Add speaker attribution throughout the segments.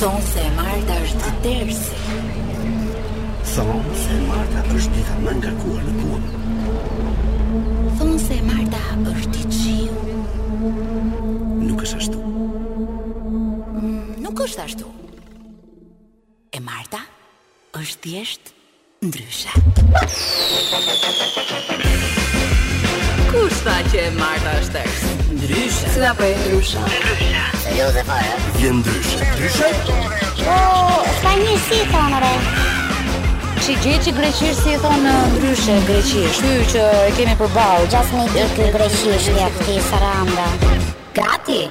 Speaker 1: Thonë se e Marta është tërsi
Speaker 2: Thonë se Marta është dita më ngarkuar në kuën.
Speaker 1: Thonë se e Marta është i qiu
Speaker 2: Nuk është ashtu.
Speaker 1: Nuk është ashtu E Marta është thjesht ndryshe
Speaker 3: Kush tha që e Marta është tërës? Ndryshe.
Speaker 1: Si da po e ndryshe?
Speaker 2: Vjen ndryshe. Ndryshe?
Speaker 4: Ska një si thonë re
Speaker 5: Që gjë që greqisht si e thonë ndryshe greqisht. Ky që e kemi përballë.
Speaker 4: Gjas me ditë greqishtja këti saranda
Speaker 1: Gati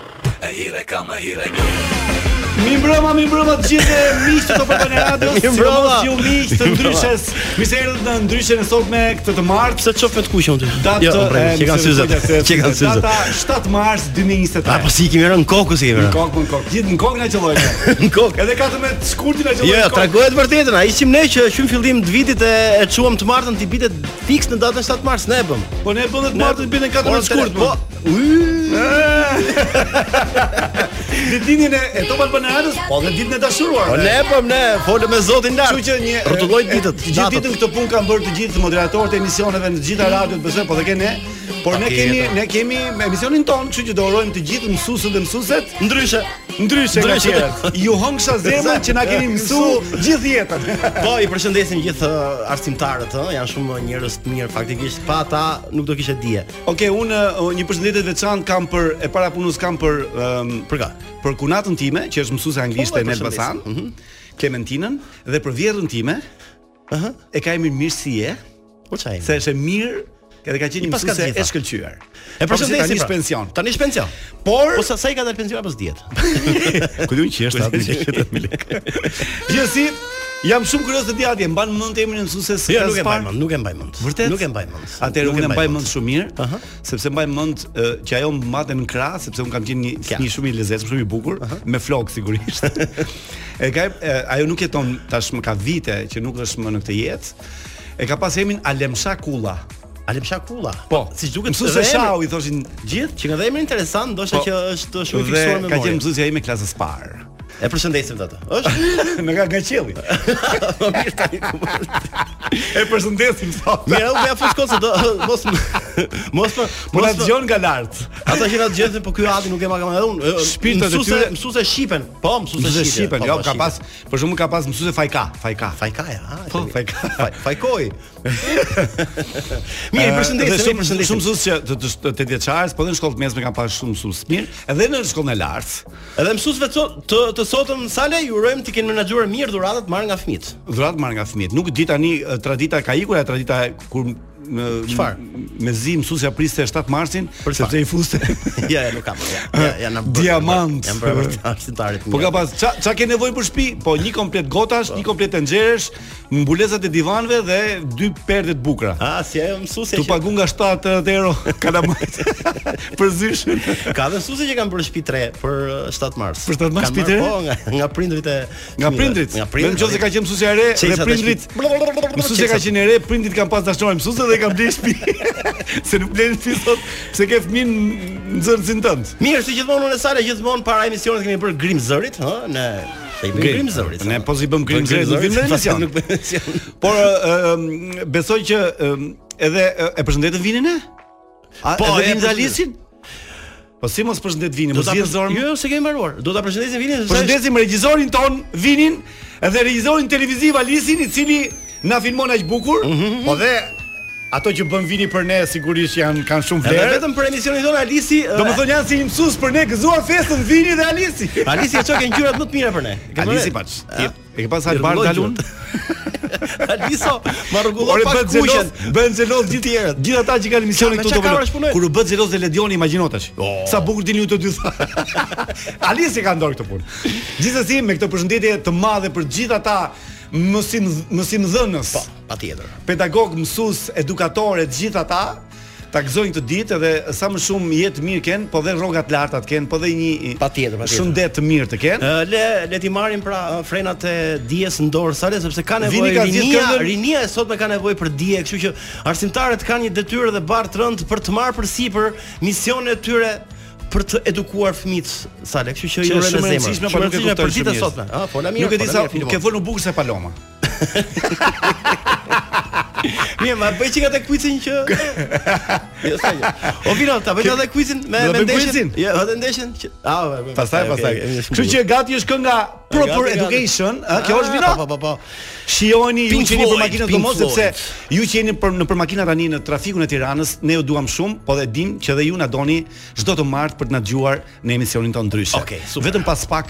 Speaker 6: Mi mbrëma, mi mbrëma të gjithë miqtë të Open Radios.
Speaker 7: Mi mbrëma.
Speaker 6: Si ju miq të ndryshes. Mi se erdhët në ndryshën e sotme këtë të martë.
Speaker 7: Pse çof me të kuqe unë?
Speaker 6: Datë
Speaker 7: Jo, bre,
Speaker 6: e,
Speaker 7: që kanë
Speaker 6: mësoj
Speaker 7: syzet.
Speaker 6: kujtë e
Speaker 7: Që kanë
Speaker 6: syzet.
Speaker 7: syzet.
Speaker 6: Data 7 mars
Speaker 7: A po
Speaker 6: 2023.
Speaker 7: si i kemi rënë kokë si i kemi
Speaker 6: Në
Speaker 7: rënë?
Speaker 6: kokë, në kokë. Gjithë në kokë na qellojnë.
Speaker 7: Në kokë.
Speaker 6: Edhe 14 shkurtin na qellojnë.
Speaker 7: Jo,
Speaker 6: në
Speaker 7: jo,
Speaker 6: kokë.
Speaker 7: tregohet vërtetën. Ai ishim ne që qym fillim të vitit e e çuam të martën ti bitet fiks në datën 7 mars, ne e bëm.
Speaker 6: Po ne bën të martën bën 14 shkurt. Po,
Speaker 7: Po, u.
Speaker 6: ditën e e Top Albana Radios, po dhe ditën e dashuruar.
Speaker 7: Po ne e bëm, ne folëm me Zotin lart.
Speaker 6: Kështu që një
Speaker 7: rrotulloj
Speaker 6: e,
Speaker 7: ditët,
Speaker 6: e, Gjithë ditën këtë punë kanë bërë të gjithë moderatorët e emisioneve në të gjitha radiot, besoj, po dhe kene Por ne
Speaker 7: Patjetër.
Speaker 6: kemi ne kemi me emisionin ton, kështu që do urojmë të gjithë mësuesët dhe mësueset
Speaker 7: ndryshe.
Speaker 6: ndryshe nga
Speaker 7: Ndryshe.
Speaker 6: tjerët. Ju hongsha zemrën që na keni mësuar gjithë jetën.
Speaker 7: Po i përshëndesim gjithë ë, arsimtarët, ë, janë shumë njerëz të mirë faktikisht. Pa ata nuk do kishe dije.
Speaker 6: Okej, unë uh, një përshëndetje të veçantë kam për e para punës kam për um, për
Speaker 7: Për ka.
Speaker 6: për kunatën time, që është mësuese anglishte
Speaker 7: Po, e
Speaker 6: në Elbasan,
Speaker 7: përshëndesim.
Speaker 6: Klementinën dhe për vjerrën time,
Speaker 7: Ëhë.
Speaker 6: e ka emrin Mirësie,
Speaker 7: Po çaj.
Speaker 6: se është e mirë, edhe ka qenë
Speaker 7: I
Speaker 6: një
Speaker 7: paska
Speaker 6: mësuese
Speaker 7: gjitha.
Speaker 6: e shkëlqyer.
Speaker 7: E përshëndesim.
Speaker 6: tani
Speaker 7: pra.
Speaker 6: pension.
Speaker 7: Tani është pension.
Speaker 6: Por
Speaker 7: Po sa sa i ka dalë pensiona pas 10.
Speaker 6: ku diun që është 7000 lekë, 7000 lekë. Gjithsesi, jam shumë kurioz të di atje, mban mend emrin e mësueses
Speaker 7: Jo,
Speaker 6: klasë
Speaker 7: nuk e mbaj
Speaker 6: parë?
Speaker 7: mend, nuk e mbaj mend.
Speaker 6: Vërtet?
Speaker 7: Nuk e mbaj mend.
Speaker 6: Atëherë
Speaker 7: Nuk
Speaker 6: unë e mbaj mend
Speaker 7: mend.
Speaker 6: shumë mirë,
Speaker 7: Aha.
Speaker 6: sepse mbaj mend e, që ajo më mbante në krah, sepse unë kam qenë një
Speaker 7: Kja.
Speaker 6: një shumë i lezetshëm, shumë i bukur, me flok sigurisht. e ka e, ajo nuk jeton tashmë ka vite që nuk është më në këtë jetë. E ka pas emrin Alemsha Kulla.
Speaker 7: Alem Shakulla. si
Speaker 6: Po,
Speaker 7: duket
Speaker 6: mësuese
Speaker 7: dhe emri-
Speaker 6: Shau i thoshin gjithë.
Speaker 7: Që nga dhe emri interesant, ndoshta
Speaker 6: Po.
Speaker 7: që është shumë i
Speaker 6: Dhe
Speaker 7: fiksuar me
Speaker 6: ka qenë
Speaker 7: mësues.
Speaker 6: mësuesja ime klasës parë.
Speaker 7: E përshëndesim të atë. Është
Speaker 6: Në nga nga qielli.
Speaker 7: mirë tani. ku
Speaker 6: po.
Speaker 7: më-
Speaker 6: E përshëndesim sot.
Speaker 7: Mirë, unë ja fush kot se do mos më- mos më-
Speaker 6: Po na
Speaker 7: mos më-
Speaker 6: dëgjon nga lart.
Speaker 7: Ata që na dëgjojnë po ky Adi nuk e ma kam edhe unë. Ë,
Speaker 6: Shpirtat e
Speaker 7: mësuese-
Speaker 6: tyre-
Speaker 7: mësuese shipen. Po, mësuese
Speaker 6: Mësuese
Speaker 7: shipen.
Speaker 6: shqipen,
Speaker 7: po,
Speaker 6: jo,
Speaker 7: po,
Speaker 6: ka
Speaker 7: shipen.
Speaker 6: pas, për shkakun ka pas mësuese Fajka, Fajka.
Speaker 7: Fajkaja, ha.
Speaker 6: Po,
Speaker 7: e
Speaker 6: fajka.
Speaker 7: Faj- Fajkoj. Mirë, i përshëndesim,
Speaker 6: Dhe
Speaker 7: i
Speaker 6: shumë
Speaker 7: përshëndesim.
Speaker 6: shumë mësues që të të- të- të vjeçarës, po edhe në shkollë të mesme kanë pasur shumë mësues mirë, edhe në shkollën e lartë.
Speaker 7: Edhe mësuesve të, të, të sotëm në sale ju urojmë të kenë menaxhuar mirë dhuratat marrë nga fëmijët.
Speaker 6: Dhurat marr nga fëmijët. Nuk di tani e, tradita ka ikur, e tradita e- kur në-
Speaker 7: Çfarë?
Speaker 6: Me zi mësuesja priste 7 marsin,
Speaker 7: Për çfarë?
Speaker 6: sepse i fuste.
Speaker 7: ja, ja, nuk kam. Ja, ja, ja na bërë-
Speaker 6: Diamant.
Speaker 7: Jam bërë vërtet arsimtarit.
Speaker 6: Po ka pas ça ça ke nevojë për shtëpi? Po një komplet gotash, një komplet tenxheresh, mbulesat e divanëve dhe dy perde të bukura.
Speaker 7: Ah, si ajo mësuesja
Speaker 6: Tu pagu nga 7 euro kalamajt për zyshën.
Speaker 7: Ka dhe mësuese që kanë bërë shtëpi 3 për uh, 7 mars.
Speaker 6: Për 7 mars
Speaker 7: Kanë
Speaker 6: shtëpi
Speaker 7: marrë,
Speaker 6: tre?
Speaker 7: Po, nga nga prindrit e
Speaker 6: Nga
Speaker 7: fëmijëve.
Speaker 6: prindrit.
Speaker 7: Nga
Speaker 6: Vetëm
Speaker 7: prindrit.
Speaker 6: nëse ka qenë mësuesja e re dhe
Speaker 7: Qesat e
Speaker 6: prindrit.
Speaker 7: shtëpi-
Speaker 6: Mësuesja ka
Speaker 7: Qesat.
Speaker 6: qenë e re, prindit kanë pas dashnorë mësuese dhe i kanë blerë shtëpi. se nuk blen shtëpi sot, se ke fëmin në zërcin tënd.
Speaker 7: Mirë, si gjithmonë unë e sale gjithmonë para emisionit kemi bërë grim zërit, ë, në i bëjmë grim zërit.
Speaker 6: Ne
Speaker 7: ha?
Speaker 6: po si bëm grim
Speaker 7: Bëm
Speaker 6: zërit, nuk vim në
Speaker 7: pas-
Speaker 6: emision.
Speaker 7: Nuk bëjmë emision.
Speaker 6: Por ë, ë, besoj që ë, edhe ë, e përshëndetën vinin e? A,
Speaker 7: Po,
Speaker 6: edhe
Speaker 7: e
Speaker 6: vinin dhe Alisin? Po si mos përshëndet vinin,
Speaker 7: Do
Speaker 6: mos
Speaker 7: ta
Speaker 6: vjen zorë.
Speaker 7: Jo, jo, se kemi mbaruar. Do ta përshëndesim Vinin. se sa
Speaker 6: Përshëndesim regjisorin ton Vinin dhe regjisorin televiziv Alisin i cili na filmon aq bukur.
Speaker 7: Mhm,
Speaker 6: Po dhe ato që bën Vini për ne sigurisht janë kanë shumë
Speaker 7: Edhe
Speaker 6: vlerë.
Speaker 7: vetëm për emisionin tonë Alisi.
Speaker 6: Do të thonë janë si mësues për ne gëzuar festën Vini dhe Alisi.
Speaker 7: Alisi e çoi ke ngjyrat më të mira për ne. Ke
Speaker 6: Alisi
Speaker 7: marrë-
Speaker 6: paç.
Speaker 7: A?
Speaker 6: E ke pas Albar
Speaker 7: Rregulloj
Speaker 6: Dalun?
Speaker 7: gjurat. Aliso, ma rregullon
Speaker 6: Ore
Speaker 7: pak
Speaker 6: bën
Speaker 7: kuqen.
Speaker 6: xelos, bën xelos gjithë tjerët. Gjithë ata që kanë misionin
Speaker 7: Ka, me
Speaker 6: këtu
Speaker 7: çka
Speaker 6: do
Speaker 7: kamerash punojnë?
Speaker 6: Kur u bë xelos dhe Ledioni imagjino tash.
Speaker 7: Oh.
Speaker 6: Sa bukur dilin ju të dy tha. Alisi ka ndorë këtë punë. Gjithsesi me këtë përshëndetje të madhe për gjithë ata mësim mësimdhënës.
Speaker 7: Po, patjetër.
Speaker 6: pedagog, mësues, edukatorë, të gjithë ata ta gëzojnë këtë ditë dhe sa më shumë jetë mirë kenë, po dhe rroga të larta të kenë, po dhe një
Speaker 7: Patjetër, patjetër.
Speaker 6: shëndet të mirë të kenë.
Speaker 7: Ë, Le le ti marrim pra ë, frenat e dijes në dorë sale sepse ka
Speaker 6: Vini
Speaker 7: nevojë
Speaker 6: ka zgjidhë
Speaker 7: rinia,
Speaker 6: këngën.
Speaker 7: rinia e sotme ka nevojë për dije, kështu që arsimtarët kanë një detyrë dhe barë të rëndë për të marrë përsipër misionin e tyre për të edukuar fëmijët Sale, kështu që
Speaker 6: Që
Speaker 7: i urojmë
Speaker 6: është shumë e
Speaker 7: zemër.
Speaker 6: rëndësishme,
Speaker 7: Shumë
Speaker 6: po
Speaker 7: e
Speaker 6: nuk e
Speaker 7: rëndësishme
Speaker 6: kuptojnë
Speaker 7: për ditën e
Speaker 6: shumë
Speaker 7: sotme. Ah, po la mirë.
Speaker 6: Nuk e di
Speaker 7: fola
Speaker 6: sa
Speaker 7: mirë,
Speaker 6: ke folur bukur se Paloma.
Speaker 7: Mirë, ma bëj çika te quizin që Jo, sa jo. O vino, ta bëj edhe quizin me
Speaker 6: Do
Speaker 7: me
Speaker 6: bëj quizin?
Speaker 7: ndeshjen. Jo, edhe ndeshjen. që- Ah, po, po,
Speaker 6: Pastaj,
Speaker 7: okay,
Speaker 6: pastaj.
Speaker 7: okay, mirë, shumë
Speaker 6: Kështu
Speaker 7: bukur.
Speaker 6: që gati është kënga Proper
Speaker 7: gati.
Speaker 6: Education, ë, kjo është vino.
Speaker 7: Po, po, po.
Speaker 6: Shijoni ju
Speaker 7: Pink
Speaker 6: që jeni për
Speaker 7: Floyd,
Speaker 6: makinat
Speaker 7: Pink
Speaker 6: domos
Speaker 7: Floyd.
Speaker 6: sepse ju që jeni për në për makina tani në trafikun e Tiranës, ne ju duam shumë, po dhe dim që edhe ju na doni çdo të martë për të na dëgjuar në emisionin tonë ndryshe.
Speaker 7: Okej, super.
Speaker 6: Vetëm pas pak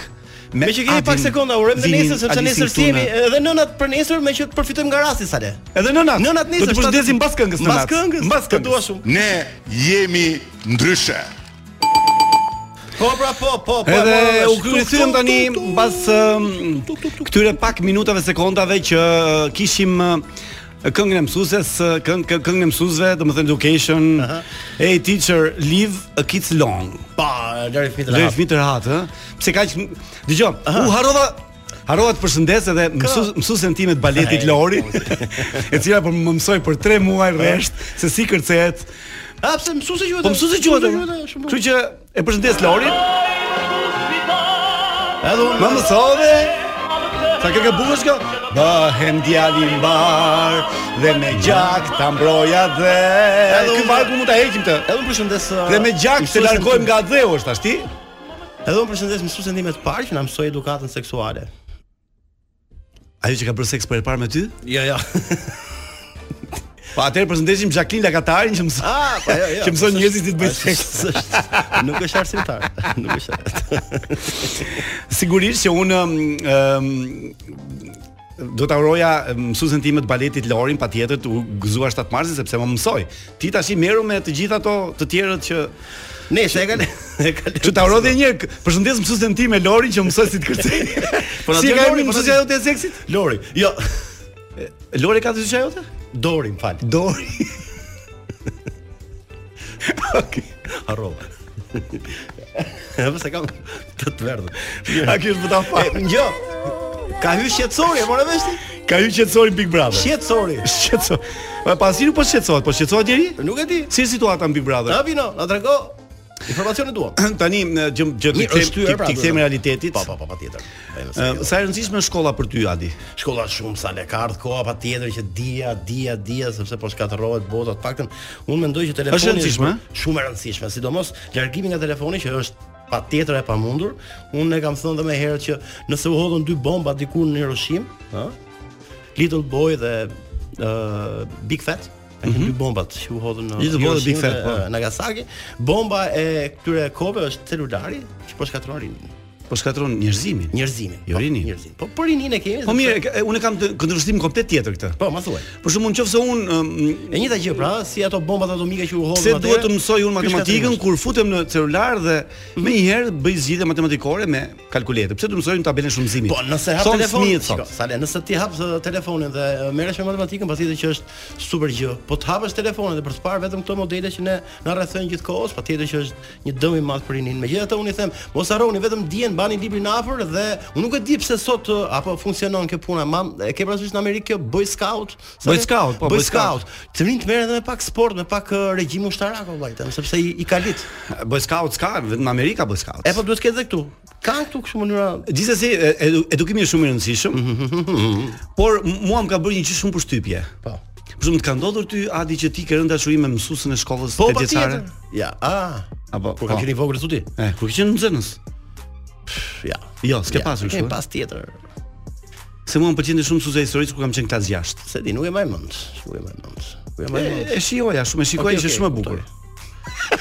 Speaker 7: Me që kemi pak
Speaker 6: Adin,
Speaker 7: sekonda, urojmë dhe
Speaker 6: Vinin,
Speaker 7: nesër sepse
Speaker 6: Alisin
Speaker 7: nesër si
Speaker 6: Tuna.
Speaker 7: jemi edhe nënat për nesër me që të përfitojmë nga rasti sale.
Speaker 6: Edhe nënat.
Speaker 7: Nënat nesër.
Speaker 6: Do të përshëndesim mbas këngës nënat.
Speaker 7: Mbas këngës.
Speaker 6: Mbas
Speaker 7: të
Speaker 6: këngës.
Speaker 7: dua shumë.
Speaker 8: Ne jemi ndryshe.
Speaker 7: Po, pra, po, po, po.
Speaker 6: Edhe
Speaker 7: po,
Speaker 6: u kryesym
Speaker 7: tuk,
Speaker 6: tani
Speaker 7: tuk, tuk,
Speaker 6: mbas um, këtyre pak minutave sekondave që uh, kishim uh, këngën e mësueses, uh, këng këng- këngën e mësuesve, domethënë education, hey teacher, leave a kids long.
Speaker 7: Pa, lëri fëmijët të
Speaker 6: Dhe
Speaker 7: rahat.
Speaker 6: fëmijë të rahat, ë? Pse kaq dëgjoj, u harrova Harrova të përshëndes edhe mësues mësuesen time të baletit
Speaker 7: Ai,
Speaker 6: Lori, e cila po më mësoi për 3 muaj rresht se si kërcehet.
Speaker 7: A pse mësuesi quhet?
Speaker 6: Po mësuesi quhet. ë.
Speaker 7: shumë
Speaker 6: Kështu që e përshëndes Lorin.
Speaker 7: Edhe unë
Speaker 6: Më mësove Sa kjo ke bukë shko Bëhem djali mbar Dhe me gjak ta mbroja dhe
Speaker 7: Edhe
Speaker 6: Ky
Speaker 7: unë-
Speaker 6: barku mund ta heqim të
Speaker 7: Edhe unë përshëndes. uh,
Speaker 6: Dhe me gjak se
Speaker 7: mësuesen
Speaker 6: largojmë
Speaker 7: tim.
Speaker 6: nga dheu është ashti
Speaker 7: Edhe unë përshëndes mësuesen time të parë që na mësoi edukatën seksuale.
Speaker 6: Ajo që ka bërë seks për e parë me ty
Speaker 7: Jo, jo.
Speaker 6: Pa Po, atëherë përshëndesim Jacqueline Lakatarin që mëson
Speaker 7: Ah, po jo, jo.
Speaker 6: Që mëson njerëzit si të bëjnë
Speaker 7: Është- është- Nuk është arsimtar. Nuk është.
Speaker 6: Sigurisht që unë um, do ta uroja mësuesen time të baletit Lorin patjetër të u gëzuar 7 marsin sepse më mësoi. Ti tash i merru me të gjitha ato të tjerët që
Speaker 7: Ne e kanë e kanë.
Speaker 6: Që ta uroj edhe një herë. Përshëndes mësuesën time Lorin që mësoi si të kërcej.
Speaker 7: Po na
Speaker 6: si
Speaker 7: thënë
Speaker 6: ka
Speaker 7: Lori,
Speaker 6: emrin
Speaker 7: po na
Speaker 6: mësuesja jote e seksit?
Speaker 7: Lori. Jo,
Speaker 6: Lori ka të dyshja jote?
Speaker 7: Dori, më fal.
Speaker 6: Dori. Okej.
Speaker 7: Harrova. Apo se kam të të verdhën.
Speaker 6: A ky është butafa?
Speaker 7: E, Jo. Ka hyrë shqetësori, e morë vesh ti?
Speaker 6: Ka hyrë qetësori Big Brother.
Speaker 7: Shqetësori.
Speaker 6: Qetësor. Po pasi nuk po shqetësohet, po shqetësohet njëri?
Speaker 7: Nuk e di.
Speaker 6: Si është situata në Big Brother?
Speaker 7: Na vino, na trego. Informacionin duam.
Speaker 6: Tani në gjë gjë të
Speaker 7: Mirë,
Speaker 6: kthem
Speaker 7: është hyrë, pra,
Speaker 6: ti kthem
Speaker 7: duhet.
Speaker 6: realitetit.
Speaker 7: Po, po, po, patjetër. Ai
Speaker 6: Ë,
Speaker 7: më sa-
Speaker 6: Sa e rëndësishme është shkolla për ty Adi?
Speaker 7: Shkolla shumë sa le ka ardhë koha patjetër që dia, dia, dia sepse po shkatërrohet bota, të paktën unë mendoj që telefoni
Speaker 6: Është e rëndësishme, eh?
Speaker 7: shumë e rëndësishme, sidomos largimi nga telefoni që është patjetër e pamundur. Unë e kam thënë dhe më herët që nëse u hodhën dy bomba diku në Hiroshim, ë, Little Boy dhe ë Big Fat, Ka qenë dy bombat që u hodhën në
Speaker 6: Mhm. Little Boy dhe Big
Speaker 7: Hiroshim
Speaker 6: Fat, po.
Speaker 7: ë, Nagasaki. Bomba e këtyre kove është celulari që po shkatërron rinin-
Speaker 6: Po shkatron njerëzimin.
Speaker 7: njerëzimin.
Speaker 6: Jo
Speaker 7: po,
Speaker 6: rinin.
Speaker 7: Njerëzin. Po për rinin e kemi.
Speaker 6: Po
Speaker 7: sepse-
Speaker 6: mirë, e ka- e, unë kam të- kundërshtim komplet tjetër këtë.
Speaker 7: Po, ma thuaj.
Speaker 6: Për shembull, nëse unë ëm,
Speaker 7: E njëjta gjë pra, si ato bombat atomike që u hodhën
Speaker 6: Pse
Speaker 7: atëherë,
Speaker 6: duhet të mësoj unë
Speaker 7: ky
Speaker 6: matematikën
Speaker 7: shkatërrimisht.
Speaker 6: kur futem në celular dhe
Speaker 7: Mhm.
Speaker 6: më një herë bëj zgjidhje matematikore me kalkulator? Pse do të mësoj në tabelën e shumëzimit?
Speaker 7: Po, nëse hap
Speaker 6: Thonë
Speaker 7: telefonin,
Speaker 6: fëmijët
Speaker 7: shiko,
Speaker 6: sot.
Speaker 7: sa le, nëse ti hap uh, telefonin dhe uh, merresh me matematikën, patjetër që është super gjë. Po të hapësh telefonin dhe për të parë vetëm këto modele që ne na rrethojnë gjithkohës, patjetër që është një dëm i madh për rinin. Megjithatë unë i them, mos harroni vetëm dijen bani librin afër dhe unë nuk e di pse sot uh, apo funksionon kjo puna. Mam, e ke parasysh në Amerikë kjo Boy Scout? sa
Speaker 6: Boy
Speaker 7: le?
Speaker 6: Scout, po, Boy
Speaker 7: Boy
Speaker 6: Scout.
Speaker 7: Scout. Të rinë të merren edhe me pak sport, me pak uh, regjim ushtarak vëllai, them, sepse i, i ka lit.
Speaker 6: Boy Scout ka, vetëm në Amerika Boy Scout.
Speaker 7: E po duhet të ketë dhe këtu. Ka këtu kështu mënyra
Speaker 6: Gjithsesi, e- edu- edukimi është shumë i rëndësishëm.
Speaker 7: Mhm,
Speaker 6: por m- mua më ka bërë një gjë shumë përshtypje.
Speaker 7: Po.
Speaker 6: Për shembull, të ka ndodhur ty Adi që ti ke rënë dashuri me mësuesin e shkollës
Speaker 7: Po
Speaker 6: të djeçare?
Speaker 7: patjetër. Ja, Po. a.
Speaker 6: Apo
Speaker 7: Kur kam qenë i vogël thotë ti?
Speaker 6: E, kur ke qenë në nxënës?
Speaker 7: Ja.
Speaker 6: Jo, s'ke
Speaker 7: Ja,
Speaker 6: pasur
Speaker 7: kemi
Speaker 6: kështu. e?
Speaker 7: pas tjetër.
Speaker 6: Se mua më pëlqente shumë mësuesja e historisë kur kam qenë klas 6.
Speaker 7: Se di, nuk e mbaj mend. Nuk e mbaj mend. Nuk e mbaj mend.
Speaker 6: E, e shijoja shumë, e shikoj
Speaker 7: Okej,
Speaker 6: ishte
Speaker 7: okej,
Speaker 6: shumë e
Speaker 7: kuptoj.
Speaker 6: bukur.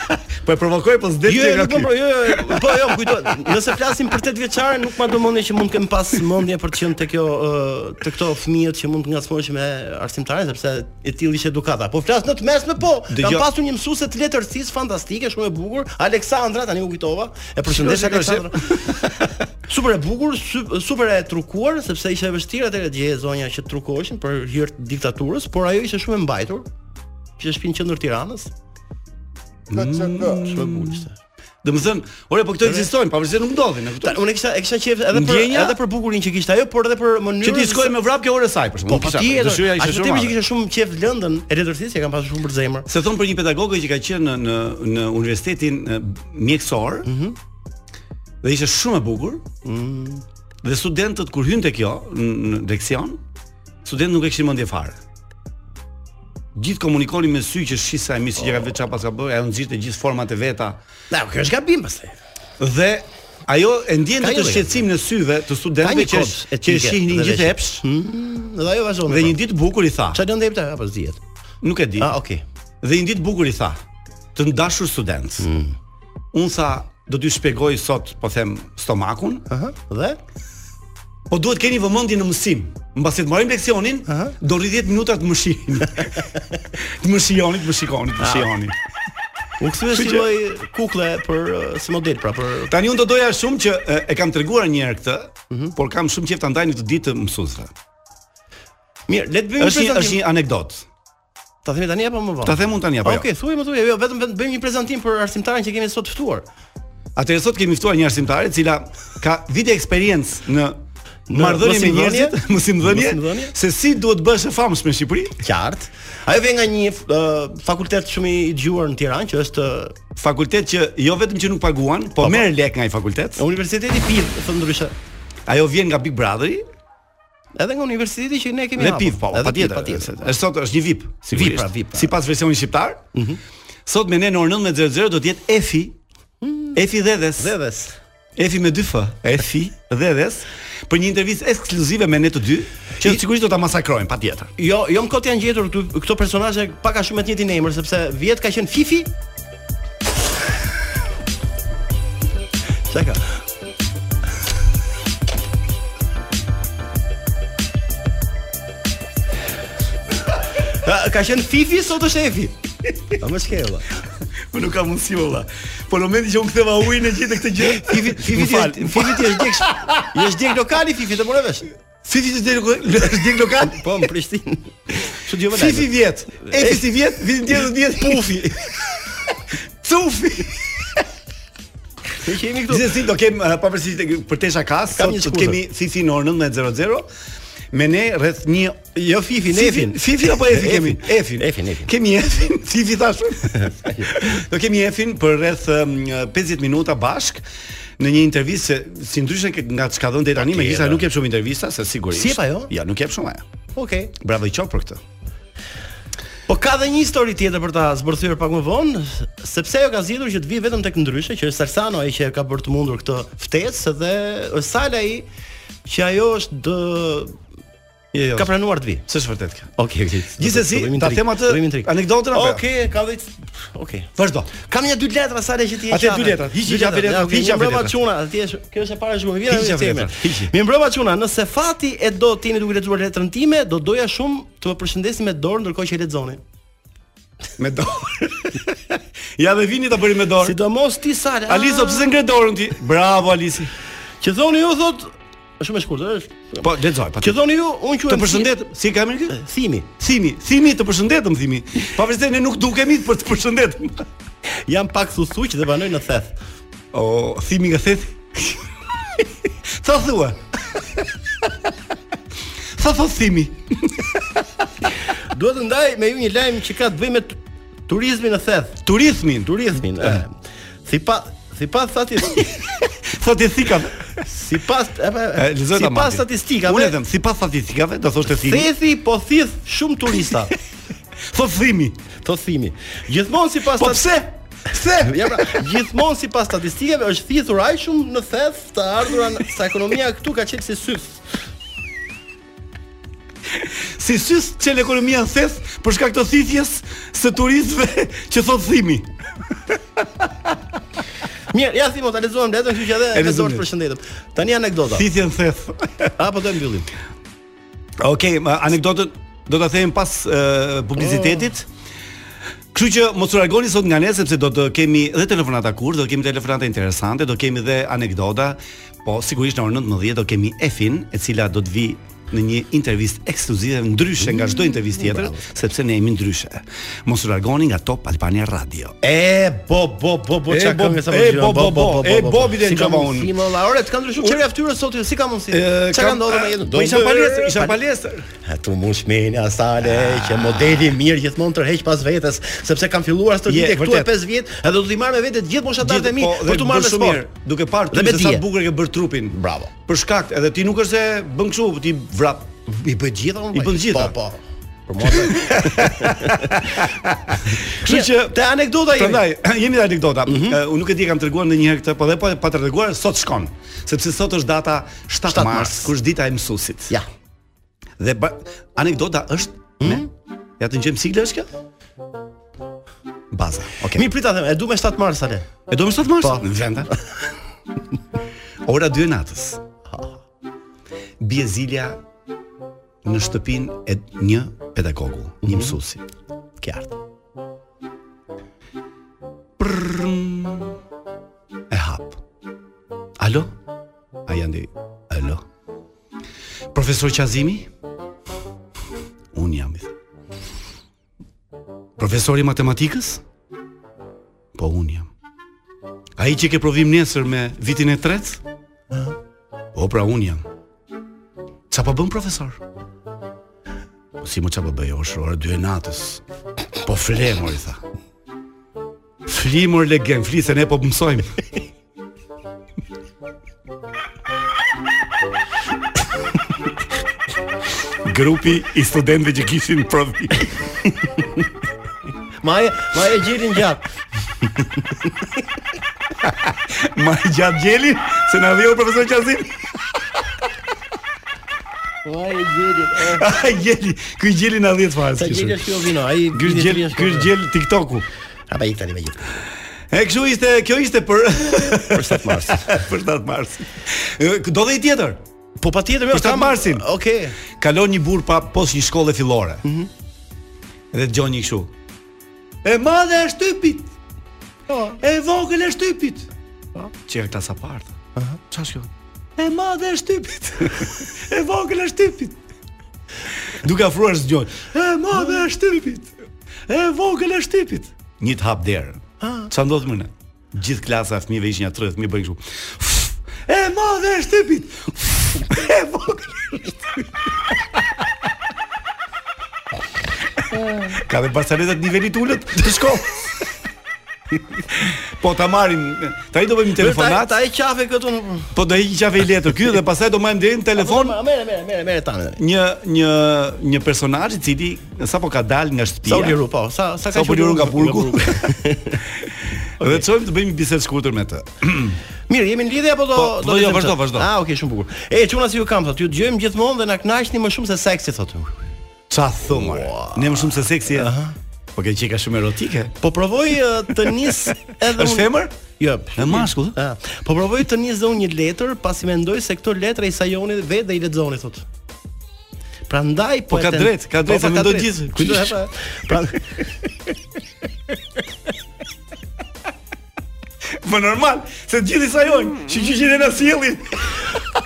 Speaker 6: po e provokoj po s'del
Speaker 7: Jo,
Speaker 6: ti
Speaker 7: jo,
Speaker 6: nga
Speaker 7: nuk më
Speaker 6: ky.
Speaker 7: pro- jo, jo, jo, po jo, më kujtohet. Nëse flasim për 8 vjeçare, nuk ma domoni që mund të kem pas mendje për të qenë te kjo ë, te këto fëmijët që mund të ngacmohesh me arsimtarin sepse e tillë ishte edukata. Po flas në të mesme po. Kam
Speaker 6: Dëgjo-
Speaker 7: pasur një mësuese të letërsisë fantastike, shumë e bukur, Aleksandra, tani u kujtova. E përshëndes
Speaker 6: Shikosh, shikosh,
Speaker 7: Aleksandra. Super e bukur, sup- super e trukuar sepse ishte e vështirë atëherë dje zonja që trukoheshin për hir të diktaturës, por ajo ishte shumë e mbajtur. Që shpinë qendër Tiranës. Shumë e bukur ishte.
Speaker 6: Domethën, ore po këto ekzistojnë, pavarësisht se nuk ndodhin, e
Speaker 7: Ta,
Speaker 6: kupton?
Speaker 7: unë e kisha e kisha qef edhe për
Speaker 6: Ndjenja?
Speaker 7: edhe për bukurinë që kishte ajo, por edhe për mënyrën
Speaker 6: Që ti shkoj me vrap ke orë e saj për
Speaker 7: Po
Speaker 6: shkakun.
Speaker 7: patjetër.
Speaker 6: dëshira ishte
Speaker 7: Ashtu
Speaker 6: shumë.
Speaker 7: timi që
Speaker 6: madhe.
Speaker 7: kisha shumë qef lëndën e letërsisë që kam pasur shumë për zemër.
Speaker 6: Se thon për një pedagogë që ka qenë në në në universitetin e, mjekësor. Mhm. dhe ishte shumë e bukur. Mhm. Dhe studentët kur hynte kjo në në leksion, studentët nuk e kishin mendje fare. Gjithë komunikonin me sy që shisa e mi si që ka vetë çfarë pas ka bërë, ajo nxirrte gjithë format e veta.
Speaker 7: Na, kjo është gabim pastaj.
Speaker 6: Dhe ajo e ndjente të
Speaker 7: Ka një lloj.
Speaker 6: shqetësimin e syve të
Speaker 7: Ka
Speaker 6: studentëve
Speaker 7: një
Speaker 6: që
Speaker 7: kod
Speaker 6: është- që
Speaker 7: etike
Speaker 6: shihnin
Speaker 7: dhe Hmm.
Speaker 6: gjithë
Speaker 7: veshje.
Speaker 6: epsh.
Speaker 7: Dhe ajo vazhdon.
Speaker 6: Dhe një ditë bukur i tha,
Speaker 7: çfarë lëndë jepte apo zihet.
Speaker 6: nuk e di.
Speaker 7: Ah, okay.
Speaker 6: Dhe një ditë bukur i tha, të ndashur student. Mm. Unë tha, do t'ju shpjegoj sot, po them, stomakun,
Speaker 7: Aha. Dhe
Speaker 6: po duhet keni vëmendje në mësim. Mbasi të marrim leksionin, do rri 10 minuta të më shihni. të më shihoni, të më shikoni,
Speaker 7: Ah.
Speaker 6: të më shihoni.
Speaker 7: u kthye si
Speaker 6: Kështu që-
Speaker 7: lloj kukulle për uh, si model pra për
Speaker 6: Tani unë do doja shumë që e, e kam treguar një herë këtë,
Speaker 7: Mhm.
Speaker 6: por kam shumë qejf ta ndaj në të ditë të mësuesve.
Speaker 7: Mirë, le të bëjmë
Speaker 6: Është një është
Speaker 7: prezantim.
Speaker 6: një anekdotë.
Speaker 7: Ta themi tani apo më vonë?
Speaker 6: Ta them unë tani apo jo?
Speaker 7: Okej, thuaj më thuaj, jo, vetëm vetëm bëjmë një prezantim për arsimtarin që kemi sot ftuar.
Speaker 6: Atëherë sot kemi ftuar një arsimtare e cila ka vite eksperiencë në
Speaker 7: Në
Speaker 6: marrëdhënie me
Speaker 7: mosimdhënie?
Speaker 6: njerëzit, mosimdhënie,
Speaker 7: Mosimdhënie?
Speaker 6: se si duhet bësh e famshme në Shqipëri,
Speaker 7: Qartë. Ajo vjen nga një uh, fakultet shumë i dëgjuar në Tiranë që është uh,
Speaker 6: fakultet që jo vetëm që nuk paguan, po merr lek nga ai fakultet.
Speaker 7: Universiteti PIV, thon ndryshe.
Speaker 6: Ajo vjen nga Big Brotheri
Speaker 7: Edhe nga universiteti që ne kemi
Speaker 6: dhe
Speaker 7: hapur.
Speaker 6: PIV, po,
Speaker 7: Edhe
Speaker 6: patjetër.
Speaker 7: PIV,
Speaker 6: Është
Speaker 7: patjetër.
Speaker 6: sot është një VIP, sigurisht.
Speaker 7: pra, VIP, pra.
Speaker 6: Sipas versionit shqiptar. Mhm. Sot me ne në orën 19:00 do të jetë Efi. Efi Dhedhes.
Speaker 7: Zedhes.
Speaker 6: Efi me dy f. Mm. Efi Dhedhes për një intervistë ekskluzive me ne të dy, që sigurisht do ta masakrojmë patjetër.
Speaker 7: Jo, jo më kot janë gjetur këtu këto personazhe pak a shumë me të njëjtin emër sepse vjet ka qenë Fifi. Çka? Ka- Ka qenë Fifi sot është Efi. A më shkella.
Speaker 6: Po nuk ka mundësi valla. Po në momentin që unë ktheva ujin e gjithë këtë gjë,
Speaker 7: Fifi Fifi ti
Speaker 6: fal.
Speaker 7: është- Fifi ti është djeg. Je është djeg lokali Fifi, të morë vesh.
Speaker 6: Fifi të del është djeg lokal.
Speaker 7: Po në Prishtinë. Kështu djova.
Speaker 6: Fifi vjet. Efi si vjet, vitin tjetër vjet pufi. Cufi.
Speaker 7: Ne kemi këtu.
Speaker 6: Gjithsesi do kem uh, pavarësisht tek- për tesha kas,
Speaker 7: Kam
Speaker 6: sot
Speaker 7: një
Speaker 6: do
Speaker 7: skuadër.
Speaker 6: kemi Fifi në orën 19:00. Me ne rreth një
Speaker 7: Jo Fifi, ne
Speaker 6: Fifi,
Speaker 7: Efin.
Speaker 6: Fifi apo Efi kemi? Efin.
Speaker 7: Efin, Efin.
Speaker 6: Kemi Efin, Fifi thash. Do kemi Efin për rreth um, 50 minuta bashk në një intervistë se si ndryshe ke- nga çka dhënë deri tani, megjithëse nuk jep shumë intervista, se sigurisht.
Speaker 7: Si jo? jep ajo?
Speaker 6: Ja, nuk jep shumë ajo.
Speaker 7: Okej.
Speaker 6: Bravo i qof për këtë.
Speaker 7: Po ka dhe një histori tjetër për ta zbërthyer pak më vonë, sepse ajo ka zgjedhur që të vi vetëm tek ndryshe, që është Salsano ai që e ka bërë të mundur këtë ftesë dhe është Sala ai që ajo është dë...
Speaker 6: Jo, jo.
Speaker 7: ka pranuar të vi.
Speaker 6: S'është vërtet kjo.
Speaker 7: Okej, okay,
Speaker 6: Gjithsesi, ta them atë anekdotën apo
Speaker 7: Okej,
Speaker 6: jo?
Speaker 7: ka dhe Okej.
Speaker 6: Vazhdo.
Speaker 7: Kam një dy letra sa le që ti e
Speaker 6: Atë
Speaker 7: qape.
Speaker 6: dy letrat, hiqi qape letrat,
Speaker 7: Ja, okay,
Speaker 6: hiqi
Speaker 7: mirë
Speaker 6: qape
Speaker 7: mbrëma
Speaker 6: letrat.
Speaker 7: çuna, ti është kjo është e para shumë. Vjen
Speaker 6: Hiqi
Speaker 7: me
Speaker 6: qape
Speaker 7: temën.
Speaker 6: letrat, hiqi.
Speaker 7: Mirë mbrëma çuna, nëse fati e do ti jeni duke lexuar letrën time, do doja shumë të më përshëndesni me dorë ndërkohë që e lexoni.
Speaker 6: Me dorë. ja dhe vini ta bëri me dorë.
Speaker 7: Sidomos ti Sale.
Speaker 6: Aliso, pse ngre dorën ti? Ah. Bravo Alisi.
Speaker 7: Që thoni ju thot është shumë e shkurtër, është.
Speaker 6: Po, lexoj. Pa
Speaker 7: Që thoni ju, unë quhem
Speaker 6: Të përshëndet, si ka emrin ky?
Speaker 7: Thi- Thimi.
Speaker 6: Thimi, thimi të përshëndetëm thimi. Pavarësisht se ne nuk dukemi për të përshëndetëm.
Speaker 7: Jam pak thusuq dhe banoj në theth.
Speaker 6: O, thimi nga thethi. Tha thua. Tha thot thimi.
Speaker 7: Duhet të ndaj me ju një lajm që ka të bëjë me tu- turizmin në theth,
Speaker 6: Turizmin, tu-
Speaker 7: turizmin. eh, e. Sipas sipas thati
Speaker 6: thot e thikave.
Speaker 7: sipas eh,
Speaker 6: E, Eh, Lexoj ta
Speaker 7: sipas statistikave.
Speaker 6: Unë e them, sipas statistikave do thoshte thimi.
Speaker 7: Thethi po thith shumë turista.
Speaker 6: Thot thimi.
Speaker 7: Thot thimi. Gjithmonë sipas
Speaker 6: Po
Speaker 7: stat-
Speaker 6: pse? Pse?
Speaker 7: Ja pra, gjithmonë sipas statistikave është thithur aq shumë në theth të ardhurën sa ekonomia këtu ka qenë si syf.
Speaker 6: si sys çel ekonomia në thes për shkak të thithjes së turistëve që thot thimi.
Speaker 7: Mirë, ja thimo ta lexojmë letrën, kështu që edhe
Speaker 6: E
Speaker 7: me
Speaker 6: lexojmë
Speaker 7: dorë të
Speaker 6: letrën.
Speaker 7: përshëndetem. Tani anekdota.
Speaker 6: Thithje në thes.
Speaker 7: Apo do e mbyllim.
Speaker 6: Okej, okay, anekdotën do ta them pas e, publicitetit. Kështu që mos u largoni sot nga ne sepse do të kemi dhe telefonata kurë, do kemi telefonata interesante, do kemi dhe anekdota, po sigurisht në orën 19 do kemi Efin, e cila do të vi në një intervistë ekskluzive ndryshe nga çdo intervistë tjetër, sepse ne jemi ndryshe. Mos u largoni nga Top Albania Radio.
Speaker 7: E bo bo bo bo
Speaker 6: E,
Speaker 7: çka
Speaker 6: bo,
Speaker 7: këngë sa
Speaker 6: e, bo, bo, bo, e, bobi dhe
Speaker 7: Si
Speaker 6: në
Speaker 7: ka
Speaker 6: gjava
Speaker 7: mundësi,
Speaker 6: unë.
Speaker 7: mo, valla, ore, të kanë ndryshuar çfarë fytyrë sot, si ka mundsi?
Speaker 6: E,
Speaker 7: Çka ka
Speaker 6: kam-
Speaker 7: ndodhur me jetën?
Speaker 6: Po isha palestër, isha palestër.
Speaker 7: E, Tu mund shmeni asale që modeli mirë gjithmonë tërheq pas vetes, sepse kam filluar
Speaker 6: Je,
Speaker 7: stërvitje këtu e
Speaker 6: vërtet.
Speaker 7: 5 vjet, edhe do t'i marr me vete të gjithë moshatarët e mi
Speaker 6: po, dhe
Speaker 7: për t'u marrë me
Speaker 6: bërë shumë mirë,
Speaker 7: sport.
Speaker 6: Duke parë
Speaker 7: Dhe
Speaker 6: ty
Speaker 7: me
Speaker 6: se sa
Speaker 7: dije.
Speaker 6: bukur e ke bërë trupin.
Speaker 7: Bravo.
Speaker 6: Për shkakt, edhe ti nuk është se bën kështu, ti vrap.
Speaker 7: I bëj gjitha unë.
Speaker 6: I
Speaker 7: vaj.
Speaker 6: bën gjitha.
Speaker 7: Po, po. Për mua. të-
Speaker 6: Kështu që
Speaker 7: Te anekdota jemi.
Speaker 6: Prandaj, jemi te anekdota. Mm Unë nuk e di e kam treguar ndonjëherë këtë, po dhe po pa të treguar sot shkon, sepse sot është data 7,
Speaker 7: 7
Speaker 6: mars,
Speaker 7: mars.
Speaker 6: kur është dita e mësuesit.
Speaker 7: Ja.
Speaker 6: Dhe ba- anekdota është me Ja të ngjem sigla është kjo? Baza. Okej.
Speaker 7: Mi prita them, e du me 7 mars ale.
Speaker 6: E do më 7 mars?
Speaker 7: Po.
Speaker 6: Në venda. Ora 2 e natës. Bie zilja në shtëpinë e një pedagogu, një mësuesi.
Speaker 7: Qartë.
Speaker 6: Prrrm. E hap. Alo? A janë di? Alo? Profesor Qazimi? Unë jam i thë. Profesori matematikës? Po unë jam. A i që ke provim nesër me vitin e tretë? Po pra unë jam. Qa po bën profesor? Po si më qa po bëj është orë dy e natës. Po flemor i tha. Flimur legend, fli se ne po mësojmë. Grupi i studentëve që kishin provi.
Speaker 7: Ma e, ma e gjerin gjatë.
Speaker 6: Ma i gjatë gjeli se na dheu profesor Qazim.
Speaker 7: Ma e gjerin. e.
Speaker 6: Ai gjeli, ky gjeli na 10 fare.
Speaker 7: Sa gjeli është kjo vino? Ai
Speaker 6: Ky gjel, ky
Speaker 7: jo
Speaker 6: gjel TikToku.
Speaker 7: Ata i tani me gjithë.
Speaker 6: E kështu ishte, kjo ishte për
Speaker 7: Për 7 mars.
Speaker 6: për 7 mars. Ë, Do dhe i tjetër. jo,
Speaker 7: Po patjetër më
Speaker 6: Për 7 marsin.
Speaker 7: Okej.
Speaker 6: Kalon një burr pa pos një shkolle fillore. Mhm. Edhe dëgjon një kështu. E madhe e shtypit. Po. E vogël e shtypit. Po. Çka klasa partë. Aha. Çfarë është kjo? E madhe e shtypit. e vogël e shtypit. Duke afruar zgjon. E madhe e shtypit. E vogël e shtypit. Një të hap derën. Çfarë ndodh më ne? Gjithë klasa e fëmijëve ishin ja 30 fëmijë bëjnë kështu. E madhe e shtypit. E vogël Ka dhe barcaletat nivelit ulët të shkollës. po ta marrim, tani do bëjmë një telefonat,
Speaker 7: Telefonat ta e qafe këtu. në-
Speaker 6: po do heqim qafe i letër këtu dhe pastaj do marrim deri në telefon
Speaker 7: Ma merre, merre, merre, merre tani.
Speaker 6: një një një personazh i cili sapo ka dalë nga
Speaker 7: Sa u
Speaker 6: shtëpia.
Speaker 7: liru, po. Sa sa
Speaker 6: Sa
Speaker 7: ka
Speaker 6: po liru nga burgu.
Speaker 7: nga
Speaker 6: Dhe të çojmë të bëjmë një bisedë shkurtër me të.
Speaker 7: Mirë, jemi në lidhje apo do
Speaker 6: Po,
Speaker 7: do
Speaker 6: po, jo,
Speaker 7: të-
Speaker 6: vazhdo, vazhdo.
Speaker 7: Ah, okay, shumë bukur. E çuna si ju kam thotë, ju dëgjojmë gjithmonë dhe na kënaqni më shumë se seksi thotë.
Speaker 6: Ça thumar. Ne më shumë se seksi. Aha. Po ke qika shumë erotike.
Speaker 7: Po provoj eh, të nis edhe
Speaker 6: Është femër?
Speaker 7: Jo.
Speaker 6: E mashkull?
Speaker 7: Ah, po provoj të nis dhe unë një letër, pasi mendoj se këto letra i sajoni vetë dhe i lexoni thotë. Prandaj po
Speaker 6: Po, ka
Speaker 7: e ten-
Speaker 6: drejt, ka drejt,
Speaker 7: po,
Speaker 6: se
Speaker 7: ka
Speaker 6: mendoj
Speaker 7: drejt.
Speaker 6: gjithë.
Speaker 7: Kujdo e pa. Pra,
Speaker 6: Po normal, se të gjithë i sajojnë, që gjyqin e na sjellin.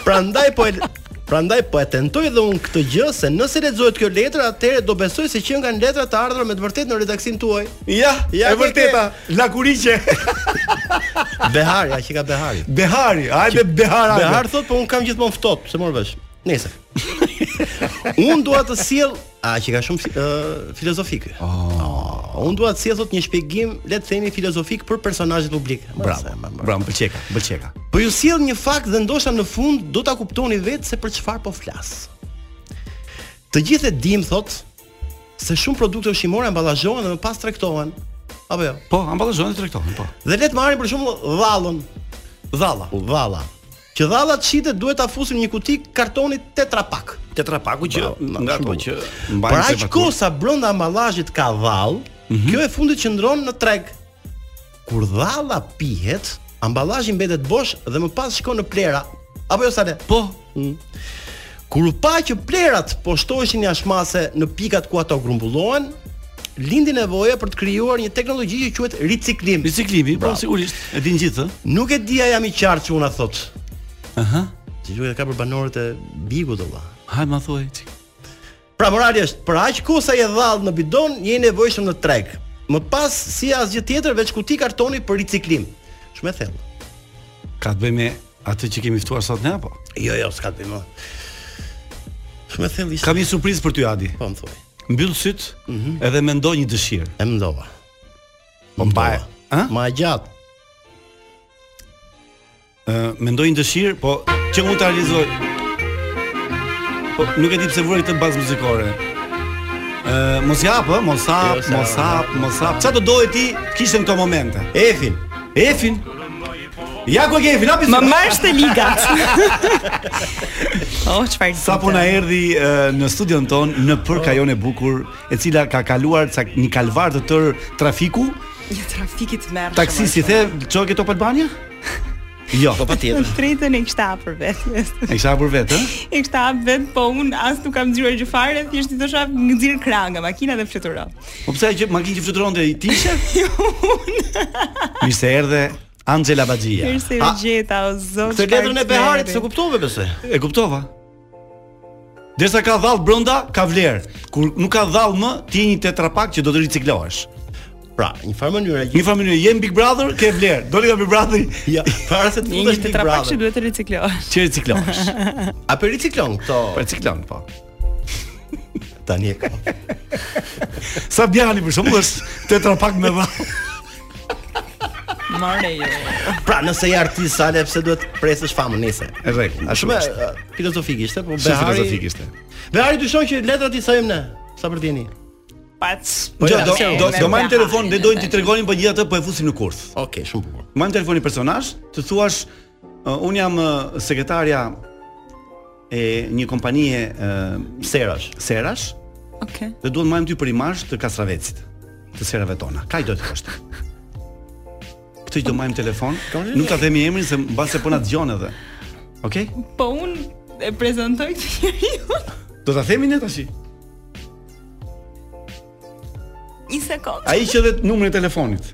Speaker 7: Prandaj po e Prandaj po e tentoj dhe unë këtë gjë se nëse lexohet kjo letër, atëherë do besoj se që nga letra të ardhura me të vërtetë në redaksin tuaj.
Speaker 6: Ja, e
Speaker 7: Ja, ke,
Speaker 6: vërteta, lakuriqe.
Speaker 7: Beharja që ka Behari.
Speaker 6: Behari, hajde Behar. hajde.
Speaker 7: Behar thot po un kam gjithmonë ftohtë, se mor vesh. Nëse. un dua të sjell, a që ka shumë uh, filozofik. Oh. un dua të sjell thot një shpjegim, le të themi filozofik për personazhet publik.
Speaker 6: Bravo.
Speaker 7: Ma- ma- ma-
Speaker 6: Bravo, pëlqeka, pëlqeka.
Speaker 7: Po ju sjell një fakt dhe ndoshta në fund do ta kuptoni vetë se për çfarë po flas. Të gjithë e dim thotë se shumë produkte ushqimore mballazhohen dhe më pas tregtohen. Apo jo.
Speaker 6: Po, amballazhojnë tregtohen, po.
Speaker 7: Dhe le të marrim për shembull dhallën. Dhalla. Dhalla. Që dhalla të shitet duhet ta fusim një kuti kartoni tetra pak.
Speaker 6: Tetra paku që nga ato që
Speaker 7: Për
Speaker 6: mbajnë
Speaker 7: Pra
Speaker 6: Mhm.
Speaker 7: aq kohë sa brenda amballazhit ka dhall, kjo e fundit qëndron në treg. Kur dhalla pihet, amballazhi mbetet bosh dhe më pas shkon në plera. Apo jo sa le?
Speaker 6: Po,
Speaker 7: Kur u pa që plerat po shtoheshin jashmase në pikat ku ato grumbullohen, lindi nevoja për të krijuar një teknologji që quhet riciklim.
Speaker 6: riciklimi, po
Speaker 7: Bravo.
Speaker 6: sigurisht. E din gjithë, ë?
Speaker 7: Nuk e dia jam i qartë që una thot.
Speaker 6: Aha.
Speaker 7: Ti duhet ka për banorët e Bigut valla.
Speaker 6: Hajde ma thuaj çik.
Speaker 7: Pra morali është, për aq kohë sa je dhall në bidon, je i nevojshëm në treg. Më pas si asgjë tjetër veç kuti kartoni për riciklim. Shumë e thellë.
Speaker 6: Ka të bëjë me atë që kemi ftuar sot ne apo?
Speaker 7: Jo, jo, s'ka të bëj më. Shumë e thellë ishte.
Speaker 6: Kam një surprizë për ty Adi.
Speaker 7: Po më thuaj.
Speaker 6: Mbyll syt, edhe mendo një dëshirë.
Speaker 7: E mndova.
Speaker 6: Po mbaje. Ë?
Speaker 7: Ma gjatë.
Speaker 6: Ë, mendoj një dëshirë, po që unë ta realizoj. Po nuk e di pse vura këtë bazë muzikore. Ë, mos jap, ë, mos hap,
Speaker 7: Jo, se-
Speaker 6: mos hap, mos hap. Çfarë do doje ti kishte në këto momente?
Speaker 7: Efin.
Speaker 6: Efin. Ja ku e ke Efin, hapi.
Speaker 9: Më marrësh te ligat. oh, çfarë?
Speaker 6: Sa po na erdhi e, në studion ton në përka jone e bukur, e cila ka kaluar ca një kalvar të tër trafiku.
Speaker 9: Një trafik i tmerrshëm.
Speaker 6: Taksi si the, ço ke Top Albania? Jo,
Speaker 7: Po patjetër.
Speaker 9: Në tretën e kishta hapur vetë.
Speaker 6: e kisha hapur vetë, ë?
Speaker 9: E kishta hap vetë, po unë as nuk kam nxjerrë gjë fare, thjesht i dosha nxjerr krah nga makina dhe fluturoj.
Speaker 6: Po pse që makinë që fluturonte i tishe?
Speaker 9: Jo,
Speaker 6: Mirë se erdhe Angela Baxhia.
Speaker 9: Mirë se
Speaker 7: A,
Speaker 9: u gjeta o zot.
Speaker 7: Këtë
Speaker 9: çfarë
Speaker 7: letrën e Beharit
Speaker 9: tmerri.
Speaker 7: se kuptove besoj.
Speaker 6: E kuptova. Derisa ka dhall brenda, ka vlerë. Kur nuk ka dhall më, ti je një tetrapak që do të riciklohesh.
Speaker 7: Pra, një farë mënyrë
Speaker 6: Në një farë mënyrë je në Big Brother, ke vlerë. Doli nga Big Brother,
Speaker 7: Ja, para se të
Speaker 9: Një një
Speaker 7: fundesh Big
Speaker 9: tetrapak që
Speaker 7: Brother.
Speaker 9: duhet të riciklohesh.
Speaker 6: që riciklohesh.
Speaker 7: A për riciklon
Speaker 6: Po
Speaker 7: këto
Speaker 6: riciklon, po.
Speaker 7: tani e ka.
Speaker 6: Sa bjani për shembull është tetrapak me dhall.
Speaker 9: Marrë jo. ju.
Speaker 7: Pra, nëse je artist sale pse duhet presësh famën nese.
Speaker 6: E rregull,
Speaker 7: A
Speaker 6: ashtu
Speaker 7: shumë
Speaker 6: është.
Speaker 7: e, filozofik ishte, po
Speaker 6: Shumë filozofik
Speaker 7: Behari.
Speaker 6: ishte.
Speaker 7: Behari dyshon që letrat i sajmë ne. Sa për tjeni?
Speaker 9: Pac.
Speaker 6: Po jo,
Speaker 7: ja,
Speaker 6: do
Speaker 7: se-
Speaker 6: do
Speaker 7: me
Speaker 6: do marrim telefon, ne dojmë t'i tregonin, po gjithatë po e fusim në kurth.
Speaker 7: Okej, shumë bukur.
Speaker 6: Marrim telefonin personazh, të thuash uh, un jam uh, sekretarja e një kompanie uh,
Speaker 7: Serash.
Speaker 6: serash
Speaker 9: Okej.
Speaker 6: dhe duhet marrim ty për imazh të Kastravecit, të serave tona. Kaj do të thoshte. Këtë që do marrim telefon, nuk ta themi emrin se mbase po na dëgjon edhe. Okej?
Speaker 9: Po unë e prezantoj këtë njeriu.
Speaker 6: Do ta themi ne tash.
Speaker 9: Një sekond.
Speaker 6: Ai që dhe numrin e telefonit.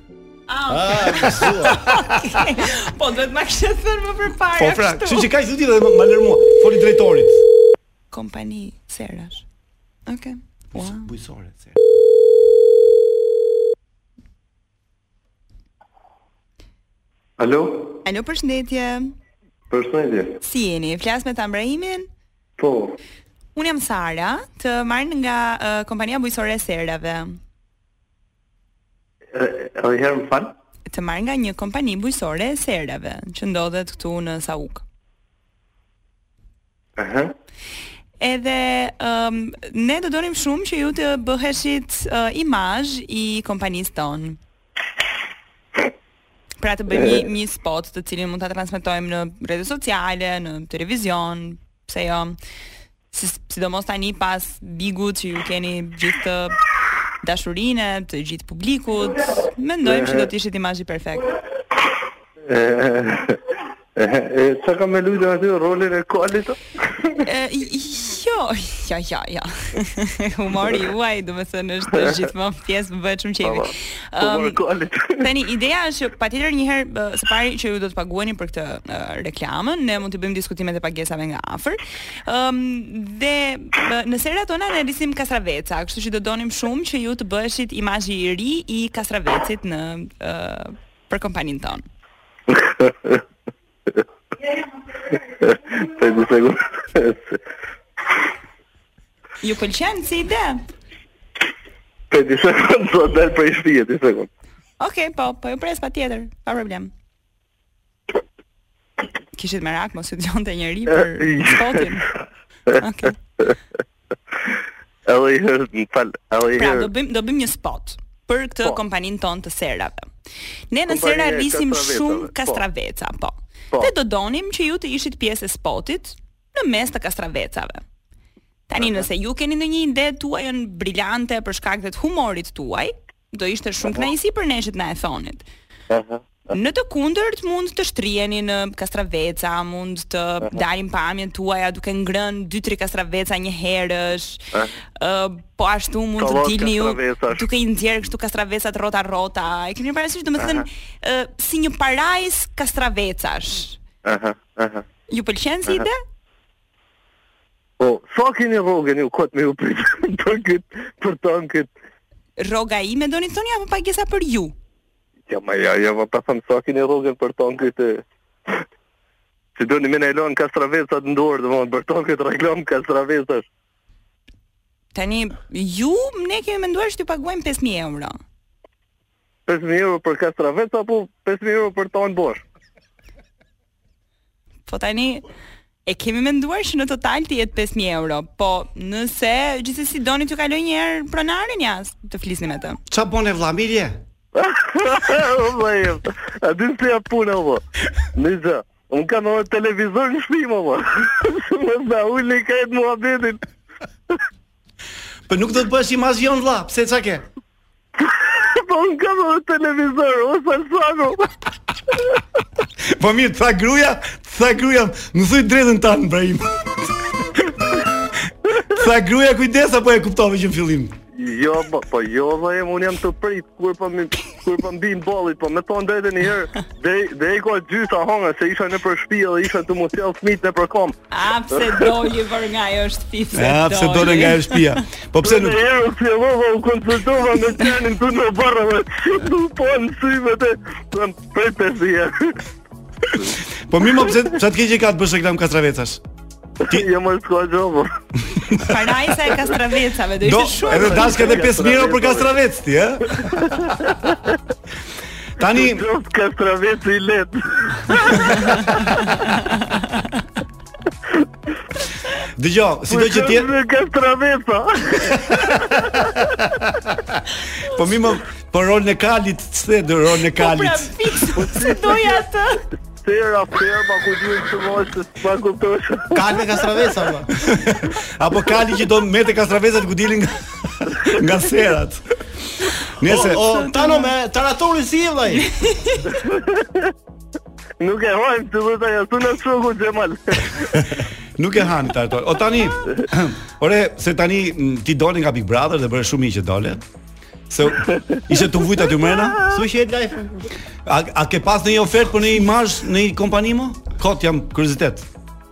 Speaker 9: Po duhet ma kishte thënë më përpara.
Speaker 6: Po pra,
Speaker 9: kështu.
Speaker 6: kështu që kaq thotë dhe më- më lërmua. Foli drejtorit.
Speaker 9: kompani serash. Okej. Wow.
Speaker 6: Bujësore. se-
Speaker 10: Alo,
Speaker 9: Alo, përshëndetje.
Speaker 10: përshëndetje.
Speaker 9: Si jeni? Flas me Tambrahimin?
Speaker 10: Po,
Speaker 9: Unë jam Sara, të marrën nga uh, kompania bujësore e serave.
Speaker 10: e- e- edhe herë më falë.
Speaker 9: Të marrë nga një kompani bujësore e serave, që ndodhet këtu në Sauk.
Speaker 10: Aha.
Speaker 9: Edhe um, ne do donim shumë që ju të bëheshit uh, imazh i kompanisë tonë. Pra të bëjmë një, një spot të cilin mund ta transmetojmë në rrjetet sociale, në televizion, pse jo. Si, sidomos tani pas bigut që ju keni gjithë të dashurinë, të gjithë publikut, mendojmë që do të ishit imazhi perfekt.
Speaker 10: E- e- e- e, Sa kam me lujtë aty rolin e koalit?
Speaker 9: E, jo, ja, ja, ja. Humori juaj, do të thënë, është është gjithmonë pjesë më bëhet shumë Um, qevi.
Speaker 10: Po, morë
Speaker 9: Ëm,
Speaker 10: koalit.
Speaker 9: Tani ideja është që patjetër një herë ë, së pari që ju do të paguheni për këtë ë, reklamën, ne mund të bëjmë diskutimet e pagesave nga afër. Ëm dhe ë, në serat tona ne rrisim Kastraveca, kështu që do donim shumë që ju të bëheshit imazhi i ri i Kastravecit në ë, për kompaninë tonë.
Speaker 10: Të një sekundë.
Speaker 9: Ju pëlqen si ide?
Speaker 10: Të një sekundë, do të dalë për i shtije, të sekundë.
Speaker 9: Okej, po, po ju pres patjetër, pa problem. Kishit merak mos ju dëgjonte njëri për spotin. Okej.
Speaker 10: Edhe i herë më falë. Edhe i
Speaker 9: Pra do
Speaker 10: herë.
Speaker 9: bëjmë do bëjmë një spot për këtë kompaninë tonë të serave. Ne në
Speaker 10: Kompania
Speaker 9: sera
Speaker 10: Po. e
Speaker 9: rrisim
Speaker 10: kastravecave,
Speaker 9: shumë
Speaker 10: po.
Speaker 9: kastraveca, po.
Speaker 10: Po.
Speaker 9: Dhe do donim që ju të ishit pjesë e spotit në mes të kastravecave. Tani nëse ju keni ndonjë ide tuajën brillante për shkak të humorit tuaj, do ishte shumë kënaqësi për ne që të na e thonit. Në të kundërt mund të shtriheni në kastraveca, mund të dalim pamjen tuaja duke ngrënë 2-3 kastraveca një herësh. Ë po ashtu mund të
Speaker 10: Kallon
Speaker 9: dilni ju
Speaker 10: kastravecash.
Speaker 9: duke i nxjerr kështu kastravecat rrota rrota. E keni parasysh domethënë ë, si një parajs kastravecash.
Speaker 10: Aha, aha.
Speaker 9: Ju pëlqen si ide?
Speaker 10: Po, sa keni rrogën ju kot me ju prit për këtë, për tonë këtë.
Speaker 9: Rroga ime doni të thoni apo pagesa për ju?
Speaker 10: Ja, ma ja, ja, ma pa thëmë sa keni rrogën për tonë këtë. Si do një me në elonë kastravecat në dorë, dhe mon, për tonë këtë reklam kastravecash.
Speaker 9: Tani, ju, ne kemi menduar që t'ju paguajmë 5.000 euro.
Speaker 10: 5.000 euro për kastravec, apo 5.000 euro për tonë bosh?
Speaker 9: Po tani, e kemi menduar që në total të jetë 5000 euro, po nëse gjithsesi doni t'ju kaloj një herë pronarin jas, të flisni me të.
Speaker 6: Ça bën e vlla Mirje?
Speaker 10: O vllai. A din se ja puna vë. Nëse un kam një televizor në shtëpi më vë. Më sa uli ka të muhabetin.
Speaker 6: Po nuk do të bësh i mazion vlla, pse ça ke?
Speaker 10: Po un kam një televizor, o salsano.
Speaker 6: Po mirë, tha gruaja, tha gruaja, më thuj drejtën tanë, Ibrahim. tha gruaja kujdes apo e kuptove që në fillim?
Speaker 10: Jo, po, po jo, dhe unë jam të prit kur po më kur po mbin bollit, po më thon drejtën një herë, deri deri ka gjysa honga se isha në për shtëpi dhe isha të mos jell fëmit në për kom.
Speaker 9: A Ah, pse doli për nga ajo shtëpi se
Speaker 6: A
Speaker 9: doli?
Speaker 6: Ah, pse doli nga ajo shtëpia? Po pse nuk?
Speaker 10: Një herë u fillova u konsultova me çanin këtu në barra, do po në syve të prej pesia.
Speaker 6: Po mi më pse çat keq e ka të bësh reklam kastravecash.
Speaker 10: Ti jo më s'ka gjë.
Speaker 9: Parajsa e kastravecave do ishte shumë.
Speaker 6: Edhe dashka edhe 5000 euro për kastravec ti, ë? Tani
Speaker 10: kastravec i let.
Speaker 6: Dëgjo, sido që ti
Speaker 10: je kastraveca.
Speaker 6: po mi më po rolën e kalit, ç'e do rolën e kalit.
Speaker 9: Po pra, fiks, se doja atë.
Speaker 10: Sera, ferma, ku duhet të mos të pa kuptosh.
Speaker 7: Kalme kastravesa po. valla.
Speaker 6: Apo kali që do me të kastravesat ku dilin nga, nga serat. Nese,
Speaker 7: o, o tano me taratorin si e vllai.
Speaker 10: Nuk e hajm të vetë ja tunë shoku Xhemal.
Speaker 6: Nuk e han tarator. O tani, ore, se tani ti doli nga Big Brother dhe bëre shumë i që dole. Se ishte të vujt aty mrena?
Speaker 7: Su që e live.
Speaker 6: A, a ke pas në një ofertë për në një imazh në një kompani më? Kot jam kuriozitet.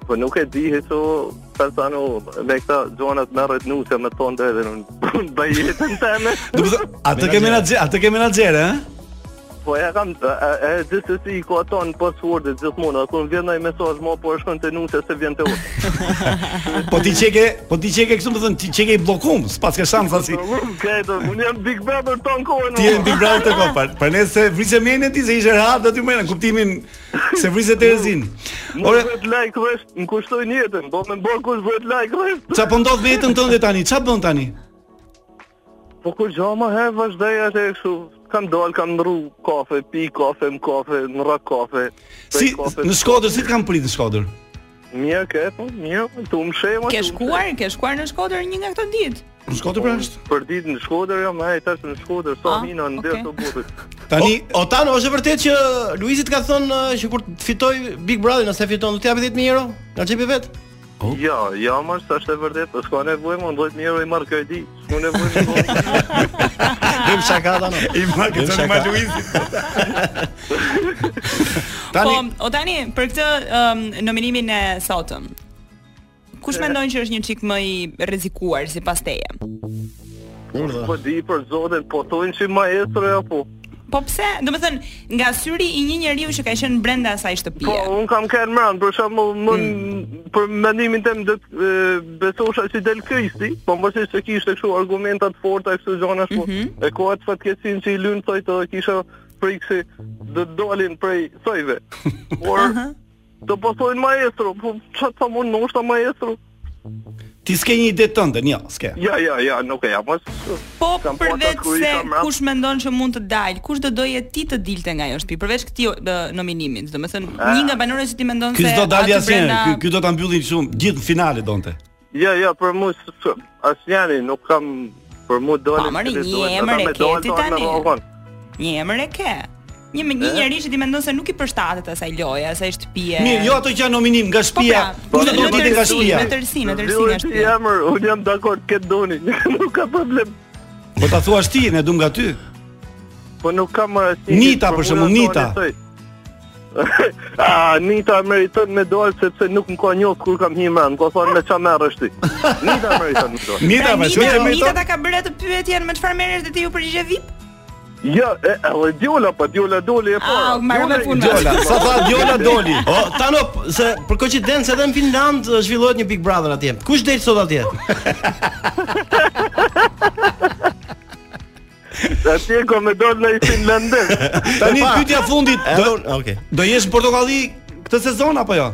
Speaker 10: Po nuk e di heso personu me këta zonat në rrët nuse me thonë dhe edhe në bajetën teme.
Speaker 6: Do të thotë, atë ke menaxher, atë ke eh? menaxher, ë?
Speaker 10: Po ja kam e, e gjithsesi i ka ato në password gjithmonë, kur vjen ndonjë mesazh më po shkon te nuse se vjen te unë.
Speaker 6: po ti çeke, po ti çeke kështu më thon, ti çeke i bllokum, s'pas ka shans asi.
Speaker 10: Këto, unë jam Big Brother ton kohën.
Speaker 6: Ti je Big Brother ton kohën. Për ne se vrisë mendën ti se ishe rahat aty më në kuptimin se vrisë Terezin.
Speaker 10: Ore, vet like vesh, më kushtoi jetën, po më bën kush vet like vesh.
Speaker 6: Ça po ndodh me jetën tënde tani? Ça bën tani?
Speaker 10: Po kur gjama he vazhdoj atë kështu kam dal, kam ndru kafe, pi kafe, më kafe, më ra kafe.
Speaker 6: Si kafe, në Shkodër si të kam prit në Shkodër?
Speaker 10: Mirë ke, po, mirë, tu më shema.
Speaker 9: Ke shkuar, ke shkuar në Shkodër një nga këto ditë?
Speaker 6: Në Shkodër pra është?
Speaker 10: Për ditë në Shkodër jam, ai tash në Shkodër,
Speaker 9: Ah,
Speaker 10: sa mina në derë të butit.
Speaker 7: Tani, o, o tani është vërtet që Luizi të ka thënë që kur fitoj Big Brother, nëse fiton do të japi 10000 euro nga xhepi vet.
Speaker 10: Oh. Ja, ja, më është është e vërdet, po s'ka nevojë, më 10000 euro i marr kjo di. S'ka nevojë.
Speaker 7: Dem shaka tani.
Speaker 6: I marr këtë në Luiz.
Speaker 9: tani, po, o tani për këtë um, nominimin e sotëm. Kush mendon që është një çik më i rrezikuar sipas teje?
Speaker 10: Po di për zotin, po thonë që maestro apo
Speaker 9: Po pse? Do të thënë, nga syri i një njeriu që ka qenë brenda asaj shtëpie.
Speaker 10: Po, un kam kanë mran, për shembull, më
Speaker 9: Hmm.
Speaker 10: mm. për mendimin tim do të besosha se del Kristi, po mos e se kishte kështu argumenta të forta kështu gjëra ashtu. Mm
Speaker 9: Mhm.
Speaker 10: -hmm. E koha të fatkeqësinë që i lyn thoj të kisha frikse do dolin prej thojve. Por uh -huh. do po thonë maestro, po çfarë thamun noshta maestro?
Speaker 6: Ti s'ke një ide tënde, jo, s'ke.
Speaker 10: Ja, ja, ja, nuk e jam as.
Speaker 9: Po përveç se kush mendon që mund të dalë, kush do doje ti të dilte nga ajo shtëpi përveç këtij nominimit,
Speaker 10: Eh.
Speaker 9: domethënë një nga banorët që ti mendon se
Speaker 6: Ky do dalë asnjë, ky ky do ta mbyllin shumë gjithë në finale donte.
Speaker 10: Ja, ja, për mua asnjëri nuk kam për mua
Speaker 9: dolën. Po, një emër e ke ti tani. Një emër e ke. Një me
Speaker 10: Eh.
Speaker 9: një njerëz që ti mendon se nuk i përshtatet asaj loje, asaj shtëpie.
Speaker 6: Mirë, jo ato që janë nominim nga shtëpia.
Speaker 9: Po pra, do të ditë nga shtëpia. Me tërsi, me tërsi nga shtëpia.
Speaker 10: Emër, un jam dakord, ke doni, nuk ka problem.
Speaker 6: Po ta thuash ti, ne dum nga ty.
Speaker 10: Po nuk kam marrë
Speaker 6: Nita për shembull, Nita.
Speaker 10: A, Nita meriton me dojë sepse nuk më ka njohë kur kam hi mend, ka thonë me qa merë është ti. Nita meriton me dojë.
Speaker 6: Nita,
Speaker 9: pra,
Speaker 6: pra,
Speaker 9: Nita,
Speaker 6: që
Speaker 9: Nita,
Speaker 6: e meriton?
Speaker 9: ta ka bërë të pyetjen me çfarë merresh dhe ti ju përgjigje VIP?
Speaker 10: Ja, Jo, e, edhe Djola, pa Djola doli e para.
Speaker 9: Au, marrë me
Speaker 10: Djola-
Speaker 9: punë.
Speaker 6: Djola, sa tha Djola doli.
Speaker 7: O, tano, p- se për koincidencë edhe në Finland ë, zhvillohet një Big Brother atje. Kush del sot atje?
Speaker 10: Atje ka me dojë në i finlandez.
Speaker 6: Tani pyetja fundit, do,
Speaker 7: Edhe- Okej.
Speaker 6: do jesh në portokalli këtë sezon apo jo?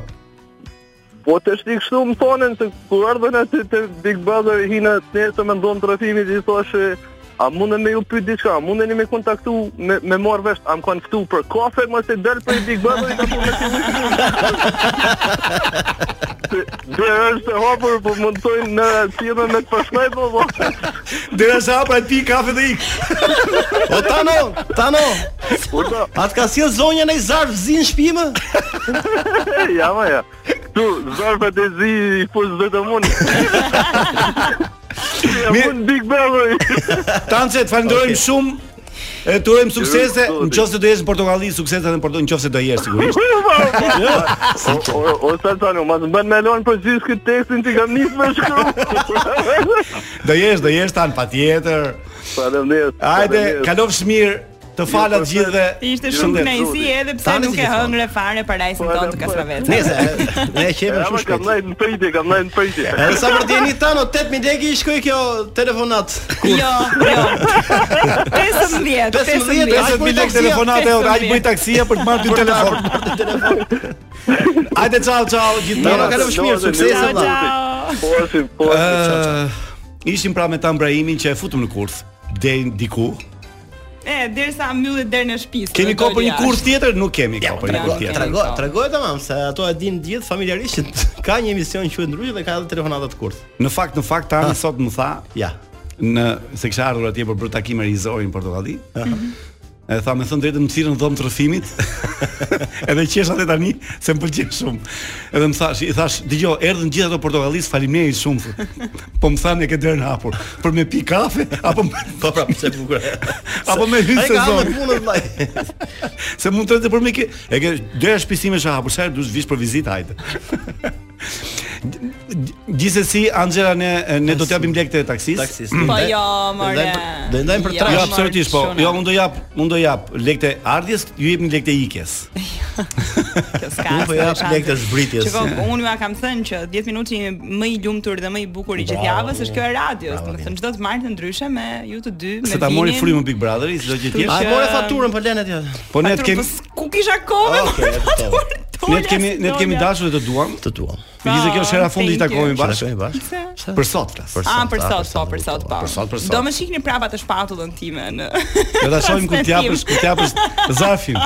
Speaker 10: Po të shti kështu më thonin se kur ardhën atë të Big Brother hina të njerë të me ndonë trafimit i thoshe A mundën me ju pyt diçka, a mundën me kontaktu, me, me marrë vesh, a më kanë këtu për kafe, mos e del për i Big Brother i ka për me të vëjtë Dhe është e hapur, po më tojnë në tjene me të përshmej, po po
Speaker 6: Dera sa hapa ti kafe dhe ik.
Speaker 7: O tano, tano.
Speaker 10: Urta,
Speaker 7: Atë ka sjell zonja në i zarf zin shtëpi më?
Speaker 10: e, ja ma ja Tu, zarfët e zi i fuzë dhe të mund Ja
Speaker 6: Mirë.
Speaker 10: mund Big Brother
Speaker 6: Tance, të falenderojmë shumë. E të urojmë suksese,
Speaker 10: Zoti.
Speaker 6: nëse do jesh në portokalli, suksese edhe në Porto, nëse do jesh sigurisht. po.
Speaker 10: Jo. O, o- o sa tani, mos më bën me lon për gjithë këtë tekstin që kam nisë me shkru.
Speaker 6: Do jesh, do jesh tan patjetër.
Speaker 10: Faleminderit.
Speaker 6: Hajde,
Speaker 10: faleminderit.
Speaker 6: kalofsh mirë. Të falat
Speaker 10: përshëndetje.
Speaker 6: gjithëve.
Speaker 9: Ishte
Speaker 10: Shumë
Speaker 9: shumë kënaqësi
Speaker 10: zoti.
Speaker 9: edhe pse
Speaker 7: Tani
Speaker 9: nuk
Speaker 7: si
Speaker 9: e
Speaker 7: ke thonë?
Speaker 9: hëngre fare para
Speaker 10: Po,
Speaker 9: isin tonë të
Speaker 10: edhe po.
Speaker 9: Kastravecës.
Speaker 7: Nëse e, ne e qepim
Speaker 10: Ja, ma
Speaker 7: shumë
Speaker 10: kam
Speaker 7: shpejt.
Speaker 10: ndajt në pritje, kam ndajt në pritje.
Speaker 7: Edhe sa për të jeni tano 8000 lekë i shkoi kjo telefonat.
Speaker 9: Jo, jo. 15,
Speaker 6: 50 lekë po
Speaker 7: 15,
Speaker 9: 15.
Speaker 6: telefonate,
Speaker 9: Pesëmbëdhjetë.
Speaker 6: aq bëj taksia për të marrë dy telefon. Hajde, ciao, ciao, gjithë
Speaker 7: Tano,
Speaker 10: Mirë,
Speaker 6: mirë.
Speaker 7: kalofsh mirë,
Speaker 10: zoti,
Speaker 7: suksese,
Speaker 10: mirë,
Speaker 7: vlla.
Speaker 10: zoti. Po, si, po.
Speaker 6: Ë, Ishim pra me Tan Brahimin që e futëm në kurth deri diku.
Speaker 9: E, derisa mbyllet derën e shtëpisë.
Speaker 6: Kemi
Speaker 9: do
Speaker 6: kohë për një
Speaker 9: jashtë.
Speaker 6: kurth tjetër? Nuk kemi kohë për një
Speaker 9: po,
Speaker 6: kurth
Speaker 9: po,
Speaker 6: tjetër.
Speaker 9: po.
Speaker 7: Tregoj, tregoj tamam se ato e dinë gjithë familjarisht që ka një emision që quhet ndryshe dhe ka edhe telefonata të kurtë.
Speaker 6: Në fakt, në fakt Tani sot më tha
Speaker 7: Ja.
Speaker 6: në se kisha ardhur atje për bërë takim me Rizorin në Portokalli.
Speaker 7: Mhm.
Speaker 6: E tha me thënë drejtë më thirrën dhomë trëfimit. edhe qesha te tani se më pëlqen shumë. Edhe më thash, i thash, dëgjoj, erdhën gjithë ato portokallis, faleminderit shumë. thë. Po më thanë e ke derën hapur për me pi kafe apo me,
Speaker 7: Po pra, pse bukur.
Speaker 6: apo me hyn
Speaker 7: Ai ka me
Speaker 6: sezon.
Speaker 7: punën vllai.
Speaker 6: Se mund të të për me ke, e ke derë shpisime është e hapur, sa herë duhet vish për vizitë hajde. Gjithsesi Angela ne ne do t'japim lekët e taksis.
Speaker 7: Taksist.
Speaker 9: Po jo, more.
Speaker 7: Do i ndajmë për
Speaker 6: Jo,
Speaker 7: trash.
Speaker 6: absolutisht po.
Speaker 9: Shona.
Speaker 6: Jo, unë do jap, unë do jap lekët e ardhjes, ju jepni lekët e ikjes.
Speaker 9: Kjo s'ka.
Speaker 7: Unë po
Speaker 9: asnjë
Speaker 7: jap
Speaker 9: shanse.
Speaker 7: lekët e zbritjes.
Speaker 9: Çiko, unë ju a kam thënë që 10 minuti më i lumtur dhe më i bukur i gjithë javës është kjo e radios, domethënë çdo të martë ndryshe me ju të dy, me
Speaker 6: Se ta mori
Speaker 9: Vinin.
Speaker 6: frymën Big Brotheri, çdo gjë
Speaker 7: A
Speaker 6: tjetër.
Speaker 7: e morë faturën për lenet ja.
Speaker 6: Po ne të
Speaker 9: Atë,
Speaker 6: kemi
Speaker 9: po s- ku kisha kohë?
Speaker 7: Ah, okay,
Speaker 9: more,
Speaker 7: e kuptova.
Speaker 9: faturë
Speaker 6: ne të
Speaker 9: tona,
Speaker 6: kemi ne të kemi
Speaker 9: s'dolja.
Speaker 6: dashur dhe të duam.
Speaker 7: Të tuam.
Speaker 6: Megjithëse kjo shera fundi i
Speaker 9: thank you.
Speaker 6: takohemi bashkë.
Speaker 7: Shkojmë bashkë.
Speaker 6: Për sot flas.
Speaker 7: Për
Speaker 9: Ah, për
Speaker 7: ah,
Speaker 9: sot, po, për sot, po.
Speaker 6: Për sot, për sot.
Speaker 9: Do më shihni prapa të shpatullën time në.
Speaker 6: Do ta shohim ku t'japësh, ku t'japësh zarfin.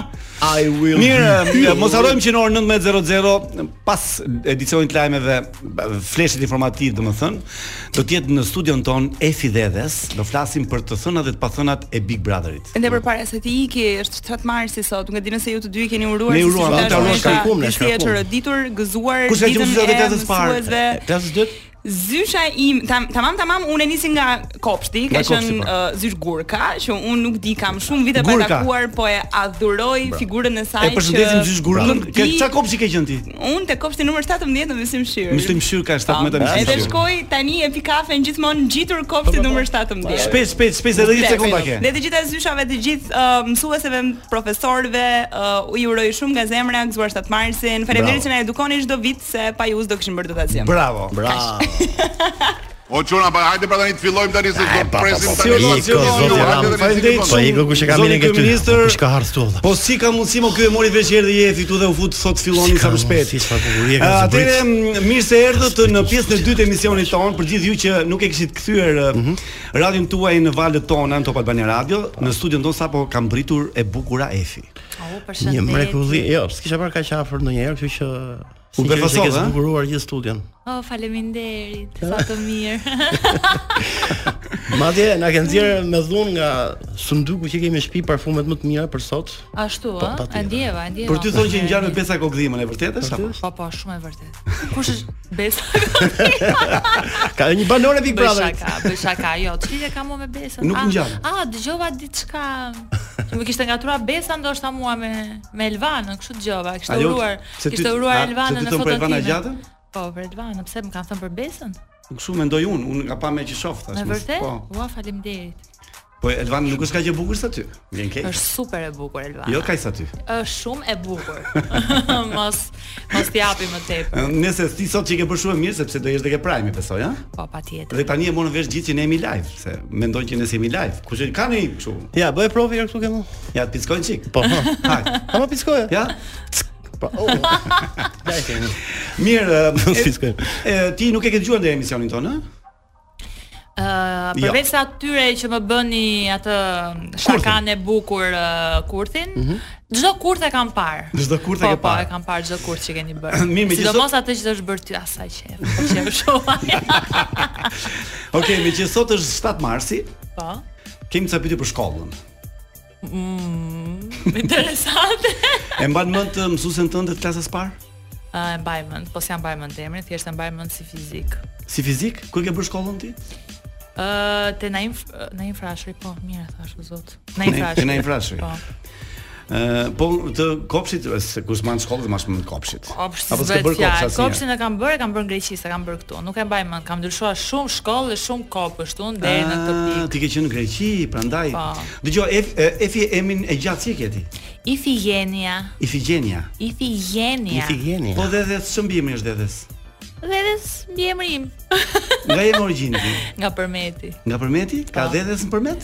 Speaker 7: I will.
Speaker 6: Mirë, mos harrojmë që në orën 19:00 pas edicionit lajmeve fleshit informativ, domethënë, do të jetë në studion ton Efi Dedhes, do flasim për të thënat dhe të pathënat e Big Brotherit.
Speaker 9: Ende përpara se ti iki, është 7 marsi sot. Nuk e dinë se ju të dy i keni uruar.
Speaker 6: Ne
Speaker 9: si
Speaker 6: uruam,
Speaker 9: si
Speaker 6: ata
Speaker 9: dashur,
Speaker 6: uruan,
Speaker 9: isha
Speaker 7: shkarkum, ne
Speaker 9: disi e
Speaker 7: shkarkum.
Speaker 9: çoroditur, gëzuar
Speaker 6: Kush ka qenë
Speaker 9: ditën
Speaker 6: mësuesi
Speaker 9: e
Speaker 6: e klasës parë?
Speaker 9: mësuesve.
Speaker 7: Klasës dytë?
Speaker 9: Zysha im, tam tamam tamam, unë e nisi nga kopshti,
Speaker 6: Nga
Speaker 9: ka
Speaker 6: kopshti,
Speaker 9: qenë
Speaker 6: po.
Speaker 9: uh, Zysh Gurka, që unë nuk di kam shumë vite pa
Speaker 6: Gurka.
Speaker 9: takuar, po e adhuroj figurën e saj.
Speaker 6: E përshëndesim
Speaker 9: që
Speaker 6: gjysh gurën.
Speaker 9: nuk
Speaker 6: Ke
Speaker 9: di- Mm.
Speaker 6: çka kopshi ke qenë ti?
Speaker 9: Unë te kopshti numër 17 në Mysim Shir.
Speaker 6: Myslim Shir ka 7 metra Myslim
Speaker 9: Ah, Edhe
Speaker 6: Shir.
Speaker 9: shkoj tani e pi kafen gjithmonë ngjitur
Speaker 6: Po,
Speaker 9: kopshti numër 17.
Speaker 6: Shpejt, shpejt, shpejt edhe 10 sekonda ke.
Speaker 9: Dhe të gjitha zyshave të gjithë uh, mësueseve, profesorëve, uh, ju uroj shumë nga zemra, gëzuar 7 marsin. Faleminderit që na edukoni çdo vit se pa ju s'do kishim bërë dot asgjë.
Speaker 6: Bravo.
Speaker 7: Bravo.
Speaker 8: O çuna, pa hajde pra tani të fillojmë tani se do
Speaker 7: pa,
Speaker 8: presim
Speaker 7: pa, pa,
Speaker 8: tani.
Speaker 7: pa, pa, pa, pa,
Speaker 8: Hajde, hajde, hajde,
Speaker 6: pa,
Speaker 8: hajde,
Speaker 6: pa,
Speaker 8: hajde,
Speaker 7: Po
Speaker 8: hajde.
Speaker 7: i ku që ka
Speaker 6: Zoti
Speaker 7: mirë nga ty.
Speaker 6: kryeministër-
Speaker 7: Kush ka harë këtu vëlla?
Speaker 6: Po si ka mundësi mo ky e mori vesh herë dhe jefi tu dhe u fut sot filloni
Speaker 7: Si ka
Speaker 6: sa më shpejt.
Speaker 7: mundësi, çfarë bukurie ka
Speaker 6: A,
Speaker 7: zbrit.
Speaker 6: Atëre m, mirë se erdhët në pjesën e dytë të emisionit ton, për gjithë ju që nuk e kishit kthyer mm radion tuaj në valët tona në Top Albania Radio, në studion ton sapo ka mbritur e bukura Efi.
Speaker 7: Një mrekulli. Jo, s'kisha parë kaq afër ndonjëherë, kështu që
Speaker 6: U
Speaker 7: sinqerisht
Speaker 6: befasove,
Speaker 7: e ke
Speaker 6: ha?
Speaker 7: zbukuruar gjithë studion.
Speaker 11: Oh, faleminderit. Sa të mirë.
Speaker 7: Madje na ke nxjerrë me dhunë nga sunduku që kemi në shtëpi parfumet më të mira për sot.
Speaker 11: Ashtu eh?
Speaker 7: Po,
Speaker 11: ë?
Speaker 7: patjetër.
Speaker 11: E ndjeva, e ndjeva.
Speaker 6: Për ty thonë që ngjan me pesa kokdhimën, e vërtetë është apo?
Speaker 11: Po, po, shumë e vërtet. Kush është besa?
Speaker 7: Ka një banore Big
Speaker 11: Bëj
Speaker 7: Brother.
Speaker 11: shaka, bëj shaka. Jo, çfarë ka mua me besën?
Speaker 6: Nuk
Speaker 11: Ah,
Speaker 6: ngjan.
Speaker 11: Ah, dëgjova diçka.
Speaker 10: Që më kishte ngatruar Besa ndoshta mua me me Elvanën, kështu dëgjova. Kishte
Speaker 6: Ajo,
Speaker 10: uruar,
Speaker 6: se ty-
Speaker 10: kishte uruar
Speaker 6: a,
Speaker 10: Elvanën
Speaker 6: se ty
Speaker 10: në
Speaker 6: thon për
Speaker 10: foton
Speaker 6: Elvana
Speaker 10: time.
Speaker 6: Gjatën?
Speaker 10: Po, për Elvanën, pse më kanë thënë për Besën?
Speaker 6: Kështu mendoj unë, unë nga pa me që shoh tash.
Speaker 10: Me
Speaker 6: mos-
Speaker 10: vërtet?
Speaker 6: Po.
Speaker 10: Ua, faleminderit.
Speaker 6: Po Elvan nuk është kaq e bukur sa ty. Vjen keq.
Speaker 10: Është super e bukur Elvana.
Speaker 6: Jo kaq sa ty.
Speaker 10: Është shumë e bukur. mos mos t'i japi më tepër.
Speaker 6: Nëse ti sot që i ke bërë shumë e mirë sepse do jesh tek e prime besoj, ha?
Speaker 10: Po, patjetër.
Speaker 6: Dhe tani e morën vesh gjithë që ne jemi live, se mendojnë që ne jemi live. Kush e ka ne kështu?
Speaker 7: Ja, bëj provë herë këtu kemo.
Speaker 6: Ja, të pickojnë çik.
Speaker 7: Po, po.
Speaker 6: Hajt.
Speaker 7: Ha më piskoje.
Speaker 6: Ja.
Speaker 7: Po.
Speaker 6: Mirë,
Speaker 7: Mos
Speaker 6: e-
Speaker 7: piskojmë.
Speaker 6: e, ti nuk e ke dëgjuar ndër emisionin tonë, ë?
Speaker 10: Ë, Uh, përveç se atyre që më bëni atë uh, shakan e bukur uh, kurthin, çdo kurth e kam parë.
Speaker 6: Mhm. Çdo kurth e
Speaker 10: Po,
Speaker 6: ke parë.
Speaker 10: Po, e kam parë çdo kurth që keni bërë.
Speaker 6: Mirë, me gjithë
Speaker 10: Sidomos atë që është bërë ty asaj qef. po Qef shumë.
Speaker 6: Okej, me që sot është 7 marsi,
Speaker 10: Po.
Speaker 6: kemi ca pyetje për shkollën.
Speaker 10: Mm, interesante.
Speaker 6: E mban mend të mësuesen tënde të klasës parë?
Speaker 10: Ë, e mbaj mend, po si e mbaj mend emrin, thjesht e mbaj mend si fizik.
Speaker 6: Si fizik? Ku e ke bërë shkollën ti?
Speaker 10: Ë, te Naim Naim Frashëri, po, mirë e thash, o zot. Naim Frashëri.
Speaker 6: Te na infrashri.
Speaker 10: Po.
Speaker 6: Ë, po të kopshit se kush mban shkollë dhe mas mund kopshit.
Speaker 10: Kopshti
Speaker 6: Apo s'ke bërë kopsh asnjë.
Speaker 10: Kopshin e kam bërë, e kam bërë në Greqi, se kam bërë këtu. Nuk e mbaj mend, kam ndryshuar shumë shkollë dhe shumë kopë këtu deri në këtë pikë.
Speaker 6: Ah, Ti ke qenë në Greqi, prandaj.
Speaker 10: Po.
Speaker 6: Dgjoj, Ef- e- Efi emin e gjatë si e ke ti?
Speaker 10: Ifigenia,
Speaker 6: Ifigenia.
Speaker 10: Ifigenia.
Speaker 6: Po dhe dhe ç'mbimi është dedhes?
Speaker 10: Dhe dhe mbiemri im
Speaker 6: Nga e origjini ti?
Speaker 10: nga Përmeti.
Speaker 6: Nga përmeti? Ka dedhes në përmet?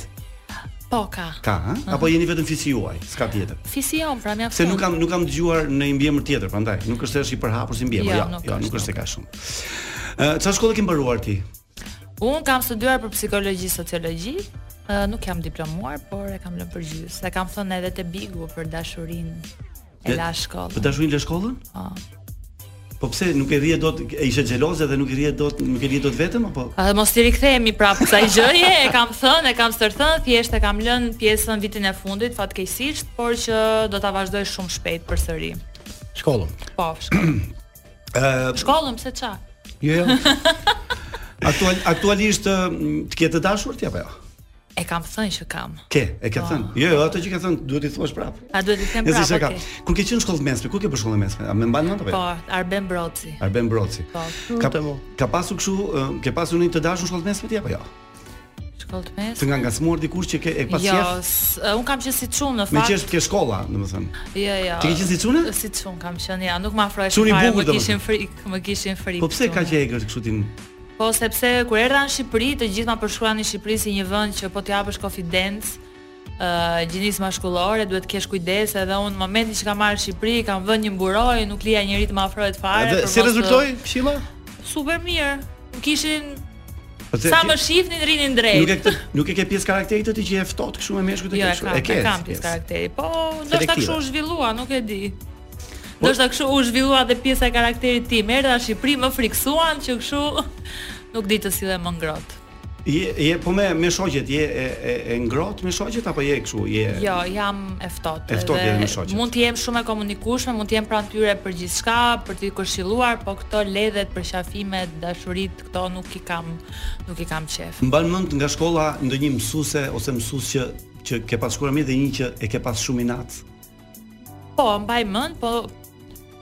Speaker 10: Po ka.
Speaker 6: Ka, ha? Apo jeni vetëm fisi juaj, s'ka tjetër.
Speaker 10: Fisi jon, pra mjafton.
Speaker 6: Se nuk kam nuk kam dëgjuar në një mbiemër tjetër, prandaj nuk është se është i përhapur si mbiemër,
Speaker 10: Jo,
Speaker 6: jo,
Speaker 10: nuk
Speaker 6: jo,
Speaker 10: është,
Speaker 6: nuk është se ka shumë. Ë, çfarë shkolle ke mbaruar ti?
Speaker 10: Un kam studiuar për psikologji, sociologji. Ë, nuk jam diplomuar, por e kam lënë për gjys. E kam thënë edhe te Bigu për dashurinë. E
Speaker 6: Le-
Speaker 10: la shkollë.
Speaker 6: Për dashurinë le shkollën?
Speaker 10: Po.
Speaker 6: Po pse nuk e rrije dot, e ishe xheloze dhe nuk i rrije dot, nuk e rrije dot vetëm apo?
Speaker 10: A mos ti rikthehemi prapë kësaj gjëje, e kam thënë, e kam stërthën, thjesht e kam lënë pjesën vitin e fundit fatkeqësisht, por që do ta vazhdoj shumë shpejt përsëri.
Speaker 7: Shkollën.
Speaker 10: Po, shkollën.
Speaker 6: Ë,
Speaker 10: Shkollën pse ça?
Speaker 7: Jo, jo.
Speaker 6: aktual aktualisht ë, të ke të dashur ti apo jo?
Speaker 10: E kam thënë që kam.
Speaker 6: Ke, e ke thënë. Jo, jo, ato që ke thënë duhet i thuash prapë.
Speaker 10: A duhet të them
Speaker 6: Nëse
Speaker 10: Po. prapë?
Speaker 6: ishe ka.
Speaker 10: Okay.
Speaker 6: Kur ke qenë në shkollë të mesme, ku ke për shkollë të mesme? A më mban mend apo
Speaker 10: Po,
Speaker 6: jo?
Speaker 10: Arben Broci.
Speaker 6: Arben Broci.
Speaker 10: Po,
Speaker 6: Ka ka pasur kështu, ë, ke pasur një të dashur në shkollë të mesme ti apo jo?
Speaker 10: shkollë të mes.
Speaker 6: Të nga ngacmuar dikush që ke e pas
Speaker 10: Jo,
Speaker 6: qef?
Speaker 10: s- un kam qenë si çun në
Speaker 6: Me
Speaker 10: fakt.
Speaker 6: qesh ke shkolla, domethënë.
Speaker 10: Jo, jo.
Speaker 6: Ti ke qenë si çune?
Speaker 10: Si çun kam qenë, ja, nuk më afroi
Speaker 6: Çuni i
Speaker 10: fare,
Speaker 6: bukur,
Speaker 10: më
Speaker 6: domethënë.
Speaker 10: kishin frikë, më kishin po frikë.
Speaker 6: Po pse ka
Speaker 10: çuni.
Speaker 6: që egër kështu ti? në-
Speaker 10: Po sepse kur erdha në Shqipëri, të gjithë ma përshkruanin Shqipërinë si një vend që po t'i japësh konfidencë, ë gjinisë maskullore, duhet të kesh kujdes, edhe unë në momentin që kam marrë Shqipëri, kam vënë një mburoj, nuk lija njëri të më afrohet fare.
Speaker 7: Edhe
Speaker 10: për
Speaker 7: si
Speaker 10: mos të-
Speaker 7: rezultoi këshilla?
Speaker 10: Super mirë. Më kishin
Speaker 6: Po pse
Speaker 10: sa
Speaker 6: ti-
Speaker 10: më shihnin rinin drejt.
Speaker 6: Nuk e këtë, nuk e ke pjesë karakterit të ti që e ftohtë kështu me meshkut e
Speaker 10: Jo, e
Speaker 6: kështu.
Speaker 10: kam, e kam
Speaker 6: pjesë.
Speaker 10: pjesë karakteri. Po, ndoshta
Speaker 6: Selektive.
Speaker 10: kështu u zhvillua, nuk e di.
Speaker 6: Po-
Speaker 10: Ndoshta kështu u zhvillua dhe pjesa e karakterit tim. Erdha në Shqipëri, më friksuan që kështu nuk di të sillem më ngrohtë.
Speaker 6: Je je po me me shoqjet, je e, e, e ngrohtë me shoqjet apo je kështu, je
Speaker 10: Jo, jam e ftohtë.
Speaker 6: E ftohtë
Speaker 10: dhe
Speaker 6: jeni me shoqet.
Speaker 10: Mund të jem shumë e komunikueshme, mund të jem pranë tyre për gjithçka, për të këshilluar, po këto ledhet, përqafimet, dashuritë, këto nuk i kam, nuk i kam qef.
Speaker 6: mban mend nga shkolla ndonjë mësuese ose mësues që që ke pas shkuar mirë dhe një që e ke pas shumë inat.
Speaker 10: Po, mbaj mend, po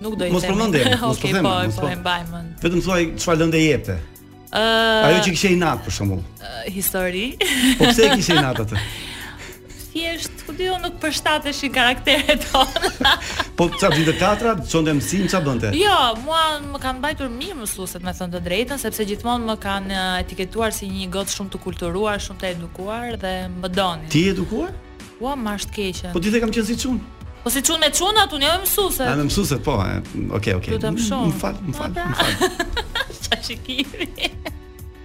Speaker 10: nuk do i
Speaker 6: Mos
Speaker 10: them.
Speaker 6: përmendem, mos
Speaker 10: Okej,
Speaker 6: po them,
Speaker 10: po,
Speaker 6: mos
Speaker 10: po,
Speaker 6: po.
Speaker 10: e mbaj mend.
Speaker 6: Vetëm thuaj çfarë lëndë jepte.
Speaker 10: Ë,
Speaker 6: Ajo që kishe inat për shembull.
Speaker 10: ë, histori.
Speaker 6: Po pse e kishe inat atë?
Speaker 10: Thjesht, ku diu nuk përshtateshin karakteret tona.
Speaker 6: Po ça vinte katra, çonte mësim, ça bënte?
Speaker 10: Jo, mua më kanë mbajtur mirë mësueset, me thënë të drejtën, sepse gjithmonë më kanë eh, etiketuar si një gotë shumë të kulturuar, shumë të edukuar dhe më donin.
Speaker 6: Ti je edukuar?
Speaker 10: Ua, më është keqe.
Speaker 6: Po ti the kam qenë si çun.
Speaker 10: Po si çun me çunat, unë jo me mësuese.
Speaker 6: A me mësueset po. e, Okej, okej.
Speaker 10: Lutem shumë. pra.
Speaker 6: Më fal, më fal.
Speaker 10: Qa shikimi.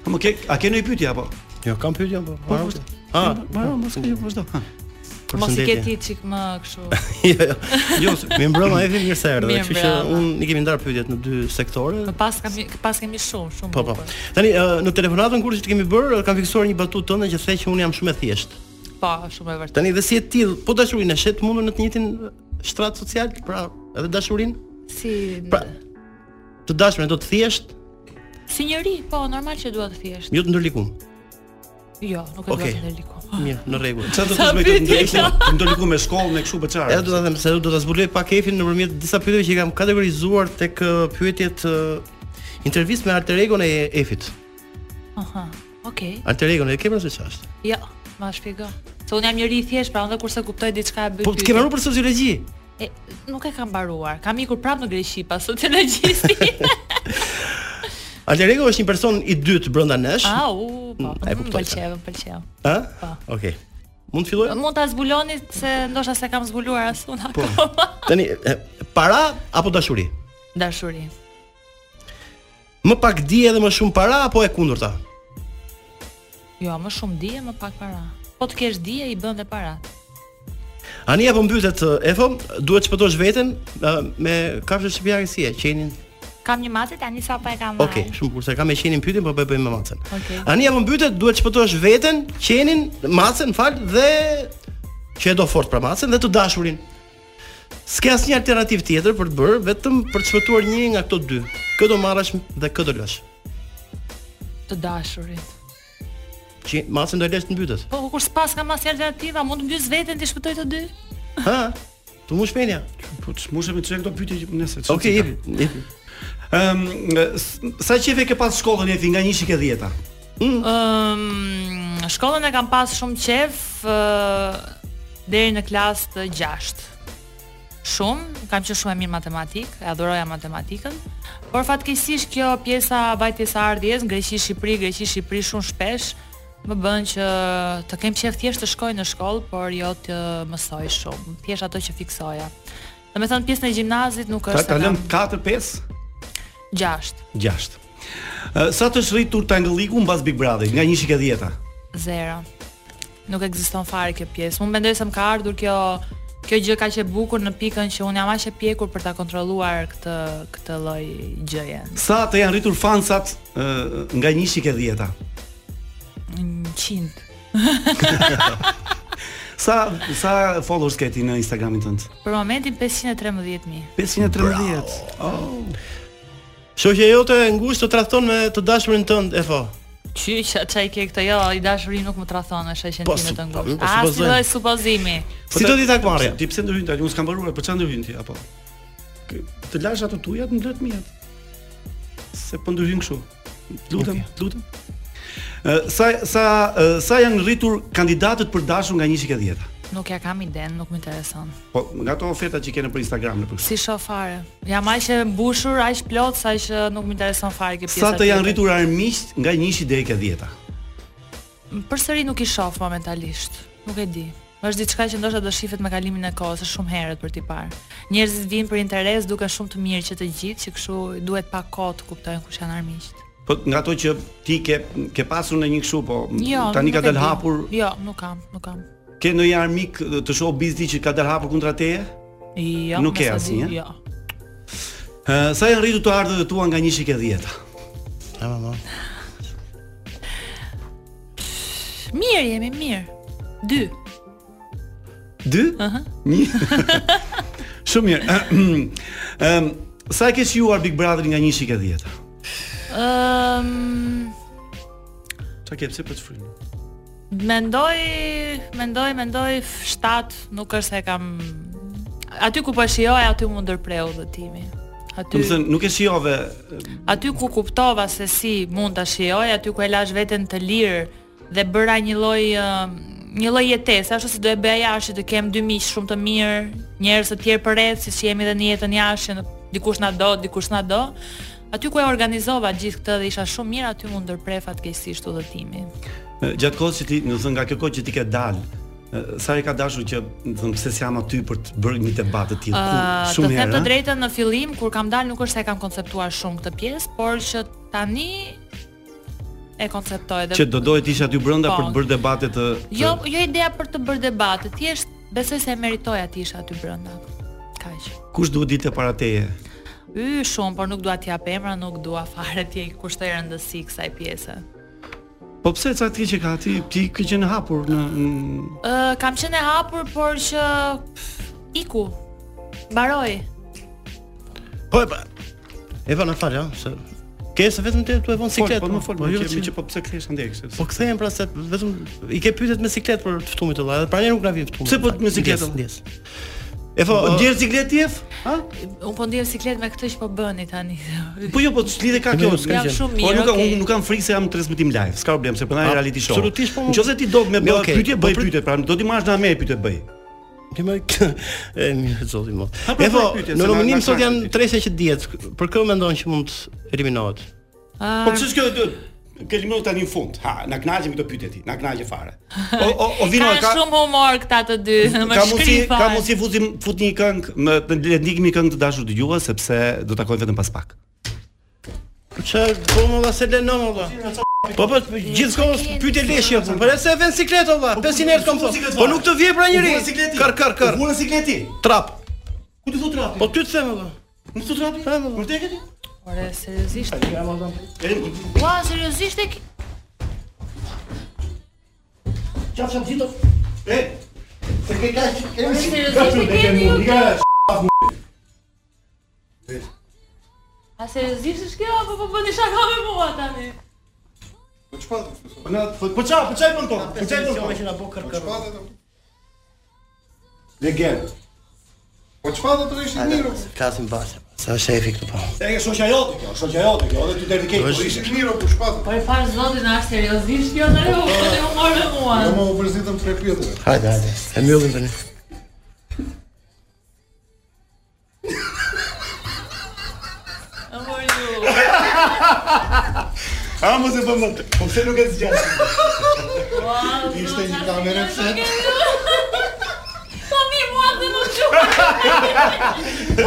Speaker 6: Po ke a ke ndonjë pyetje apo?
Speaker 7: Jo, kam pyetje po.
Speaker 6: Po,
Speaker 7: Maro.
Speaker 6: vazhdo.
Speaker 7: Ah,
Speaker 6: Maro, mos ke po, vazhdo. ha.
Speaker 10: Mos i ke
Speaker 7: Përshëndetje.
Speaker 10: ti çik më kështu.
Speaker 7: Jo, jo. Jo, se- mi mbrëma Evi mirë se erdhe,
Speaker 10: Mirë
Speaker 7: kështu që
Speaker 10: mbrëma.
Speaker 7: unë i kemi ndar pyetjet në dy sektore.
Speaker 10: Më pas kemi pas kemi shumë, shumë.
Speaker 7: Po, po. Tani ë, në telefonatën kur që të kemi bërë, kam fiksuar një batutë tënde që the që unë jam shumë e thjeshtë.
Speaker 10: Po, shumë e vërtetë.
Speaker 7: Tani dhe si e ti, po dashurinë e shet mundur në të njëjtin shtrat social, pra edhe dashurinë
Speaker 10: Si
Speaker 7: Pra, të dashurën do të thjesht,
Speaker 10: si njëri, po, normal që duhet të thjesht.
Speaker 7: jo të ndërlikum.
Speaker 10: Jo, nuk e dua
Speaker 7: Okej.
Speaker 10: të ndërliku.
Speaker 7: Mirë, në rregull.
Speaker 6: Çfarë do të bëj këtë ndërliku? Të ndërliku me shkollën e kështu po beçare.
Speaker 7: Ja do ta them se do ta zbuloj pa kefin nëpërmjet disa pyetjeve që i kam kategorizuar tek ë, pyetjet ë, intervistë me alter egon e Efit.
Speaker 10: Aha. Okej.
Speaker 7: Alter egon e ke për se ç'është?
Speaker 10: Jo, ma shpjego. Se unë jam njëri i thjesht, pra unë dhe kurse kuptoj diçka e bëj.
Speaker 7: Po të ke marrë për sociologji.
Speaker 10: E, nuk e kam mbaruar. Kam ikur prapë në Greqi pas sociologjisti.
Speaker 7: Alter ego është një person i dytë brenda nesh.
Speaker 10: Au, po.
Speaker 7: E
Speaker 10: Më
Speaker 7: kuptoj.
Speaker 10: pëlqeu, më pëlqeu.
Speaker 7: Ë?
Speaker 10: Po.
Speaker 7: Okej. Mund të fillojmë?
Speaker 10: Mund ta zbuloni se ndoshta se kam zbuluar as unë
Speaker 7: Po.
Speaker 10: akoma.
Speaker 7: Tani e, para apo dashuri?
Speaker 10: Dashuri.
Speaker 7: Më pak dije dhe më shumë para apo e kundërta?
Speaker 10: Jo, më shumë dije, më pak para. Po të kesh dije i bën dhe parat.
Speaker 7: Ania po mbytet ë, Efo, duhet të shpëtosh veten ë, me kafshë shqiptare si e qenin.
Speaker 10: Kam një mace tani sapo e kam.
Speaker 7: Okej, shumë kurse kam me qenin pyetjen, po bëj bëj me macën.
Speaker 10: Okej.
Speaker 7: Ania po mbytet, duhet të shpëtosh veten, qenin, macën, fal dhe që e do fort për macën dhe të dashurin. S'ke asnjë alternativë tjetër për të bërë, vetëm për të shpëtuar një nga këto dy. Kë do marrësh dhe kë do lësh.
Speaker 10: Të dashurit.
Speaker 7: Që macën do e lësh të mbytet.
Speaker 10: Po kur s'pas kam asnjë alternativa, mund të mbyes veten ti shpëtoj të dy.
Speaker 7: Ha? Tu mush menja.
Speaker 6: Po çmushë me çfarë këto pyetje që nëse çfarë.
Speaker 7: Okej, jepi, jepi.
Speaker 6: Ëm s- sa qefe ke pas shkollën e ti nga 1 ke 10-ta?
Speaker 10: Ëm shkollën e kam pas shumë qef ë, deri në klasë të 6. Shumë, kam qenë shumë e mirë matematik, e adhuroja matematikën. Por fatkeqësisht kjo pjesa vajtjes së ardhjes, Greqi Shqipëri, Greqi Shqipëri shumë shpesh më bën që të kem qef thjesht të shkoj në shkollë, por jo të mësoj shumë, thjesht ato që fiksoja. Domethënë pjesën e gjimnazit nuk
Speaker 6: Ta
Speaker 10: është
Speaker 6: ta
Speaker 10: se
Speaker 6: lëm
Speaker 10: kam
Speaker 6: 4 5
Speaker 10: 6,
Speaker 6: 6. Sa të shritur tangëlliku mbas Big Brotherit nga 1 ke 10-ta?
Speaker 10: Zero. Nuk ekziston fare kjo pjesë. Unë mendoj se më ka ardhur kjo kjo gjë kaq e bukur në pikën që unë jam aq e pjekur për ta kontrolluar këtë këtë lloj gjëje.
Speaker 6: Sa të janë rritur fansat ë, nga 1 ke 10-ta?
Speaker 10: 100.
Speaker 6: Sa sa followers ke ti në Instagramin tënd?
Speaker 10: Për momentin 513.000.
Speaker 6: 513.
Speaker 7: Oh. Shoqja jote e ngushtë të tradhton me të dashurin tënd, Efo.
Speaker 10: Qyqa çaj ke këtë jo, i dashuri nuk më tradhon është që
Speaker 7: Po,
Speaker 10: time të
Speaker 7: supo-
Speaker 10: ngushtë.
Speaker 7: po,
Speaker 10: A si
Speaker 7: supozojmë.
Speaker 10: lloj supozimi?
Speaker 7: Po Si do t'i tak marrja?
Speaker 6: Ti Po, pse ndërhyn tani? Unë s'kam mbaruar, po çfarë ndërhyn ti apo? Kë- Të lash ato tuja të mblet mia. Se po ndërhyn kështu. Lutem, lutem. Ë, sa sa ë, sa janë rritur kandidatët për dashur nga 1 ke 10-ta?
Speaker 10: Nuk ja kam iden, nuk më intereson.
Speaker 6: Po nga ato oferta që kene për Instagram në përkësi.
Speaker 10: Si shoh fare. Jam aq e mbushur, aq plot sa që nuk më intereson fare kjo pjesa.
Speaker 6: Sa të janë
Speaker 10: tjetër.
Speaker 6: rritur armiqt nga 1 deri ke 10-ta?
Speaker 10: Përsëri nuk i shoh momentalisht. Nuk e di. Është diçka që ndoshta do shifet me kalimin e kohës, është shumë herët për t'i parë. Njerëzit vinë për interes, duken shumë të mirë që të gjithë, që kështu duhet pak kohë të kuptojnë kush janë armiqt.
Speaker 6: Po nga ato që ti ke ke pasur në një kështu, po
Speaker 10: Jo,
Speaker 6: tani ka
Speaker 10: nuk e
Speaker 6: dal
Speaker 10: di.
Speaker 6: hapur.
Speaker 10: Jo, nuk kam, nuk kam.
Speaker 6: Ke ndonjë armik ë, të shoh bizni që ka dal hapur kundra teje?
Speaker 10: Jo,
Speaker 6: Nuk ke
Speaker 10: mos e di,
Speaker 6: asnjë?
Speaker 10: Jo.
Speaker 6: Ë, sa janë rritur të ardhurët tua nga 1 ke 10-ta?
Speaker 7: Ja, mama.
Speaker 10: Mirë jemi, mirë. Dy.
Speaker 6: 2? Aha. 1. Shumë mirë. Ëm, sa e ke shijuar Big Brother nga 1 ke 10-ta?
Speaker 10: Ëm,
Speaker 6: Çka ke pse po të frymë?
Speaker 10: mendoj, mendoj, mendoj 7, nuk është se e kam aty ku po shijoj, aty mu ndërpreu udhëtimi. Aty.
Speaker 6: Do të thënë, nuk e shijove
Speaker 10: Aty ku kuptova se si mund ta shijoj, aty ku e lash veten të lirë dhe bëra një lloj ë, një lloj jetese, ashtu si do e bëja jashtë që të kem dy miq shumë të mirë, njerëz të tjerë për rreth, siç jemi edhe në jetën jashtë, në- dikush na do, dikush na do. Aty ku e organizova gjithë këtë dhe isha shumë mirë, aty mund ndërprej fatkeqësisht udhëtimi.
Speaker 6: ë, gjatë kohës që ti, do të thënë nga kjo kohë që ti ke dalë, ë, sa e ka dashur që, do të thënë, pse s'jam aty për të bërë një debat të tillë?
Speaker 10: Ë,
Speaker 6: Shumë
Speaker 10: Uh, të them të
Speaker 6: herë. ë?
Speaker 10: drejtën në fillim kur kam dalë nuk është se e kam konceptuar shumë këtë pjesë, por që tani e konceptoj dhe
Speaker 6: Që do dohet isha aty brenda për të
Speaker 10: Po.
Speaker 6: bërë debate të të-
Speaker 10: Jo, jo ideja për të bërë debate, thjesht besoj se e meritoja ti isha aty brenda. Kaq.
Speaker 6: Kush duhet ditë para teje?
Speaker 10: Y shumë, por nuk dua t'i jap emra, nuk dua fare t'i kushtoj rëndësi kësaj pjese.
Speaker 6: Po pse ca ti që ka ti ti ke qenë hapur në, në
Speaker 10: Ë, kam qenë e hapur, por që pff, iku. Mbaroi.
Speaker 7: Po e pa. Efo na fal, ja, se Ke se vetëm te tu e vën siklet.
Speaker 6: Po, po më fol, po jo që po pse kthesh andaj kështu.
Speaker 7: Po kthehen pra se vetëm i ke pyetet me siklet për të ftumit të vllajt, dhe pra ne nuk na vjen ftumë.
Speaker 6: Pse po me sikletën?
Speaker 7: Ndjes.
Speaker 6: E po, ndjer siklet jef?
Speaker 10: Ha? Un po ndjer siklet me këtë që po bëni tani.
Speaker 6: Po jo, po çlidhe ka kjo,
Speaker 10: s'ka gjë.
Speaker 6: Po nuk kam nuk kam frikë se jam në transmetim live. S'ka problem, se po na reality show.
Speaker 7: Absolutisht po.
Speaker 6: Nëse ti do me bëj pyetje, bëj pyetje, pra do ti marrësh na me pyetje bëj.
Speaker 7: Ti më e mirë zoti më.
Speaker 6: pra,
Speaker 7: E po, në nominim sot janë tresha që dihet. Për kë mendon që mund eliminohet?
Speaker 6: Po ç'është kjo dy? Ke eliminohet tani në fund. Ha, na kënaqemi këto pyetje ti, na kënaqe fare. O o o vino
Speaker 10: ka. Ka shumë humor këta të dy, më shkri fare.
Speaker 6: Ka mundsi futim fut një këngë, më le ndikemi këngë të dashur dëgjues sepse do takojmë vetëm pas pak.
Speaker 7: Çe po më vase lënë më valla. Po po gjithkohës pyetje leshje apo. Po se vën siklet olla, 500 herë kom thonë. Po nuk të vje pra njëri. Kar kar kar.
Speaker 6: Vuan sikleti.
Speaker 7: Trap.
Speaker 6: Ku ti thot trapi?
Speaker 7: Po ty të them olla.
Speaker 6: Nuk thot trapi?
Speaker 7: Vërtet
Speaker 10: e di? Ore seriozisht. Ua, seriozisht e ki.
Speaker 8: Qaf çam zito.
Speaker 6: E.
Speaker 8: Se ke kaç? Kemi
Speaker 10: seriozisht e
Speaker 8: keni.
Speaker 10: A seriozisht është kjo apo po bëni shaka me mua tani?
Speaker 8: Po çfarë?
Speaker 6: Po na po çfarë? Po çfarë bën to? Po çfarë bën to?
Speaker 7: Që na bë kërkë.
Speaker 8: Legend. Po çfarë do të ishte Miro?
Speaker 7: Klasim vase. Sa shefi këtu po.
Speaker 6: E ke shoqja jote kjo, shoqja jote kjo, edhe ty deri ke.
Speaker 8: Po ishte Miro po çfarë?
Speaker 10: Po e fal zotin na seriozisht kjo tani u bëni humor me mua.
Speaker 8: Jo më u përzitëm tre pyetje.
Speaker 7: Hajde, hajde. E mbyllim tani.
Speaker 10: Amor
Speaker 8: A mos e bëm dot. Po pse nuk e zgjat?
Speaker 10: Wow,
Speaker 8: Ishte një kamerë pse?
Speaker 10: Po mi mua të më shumë.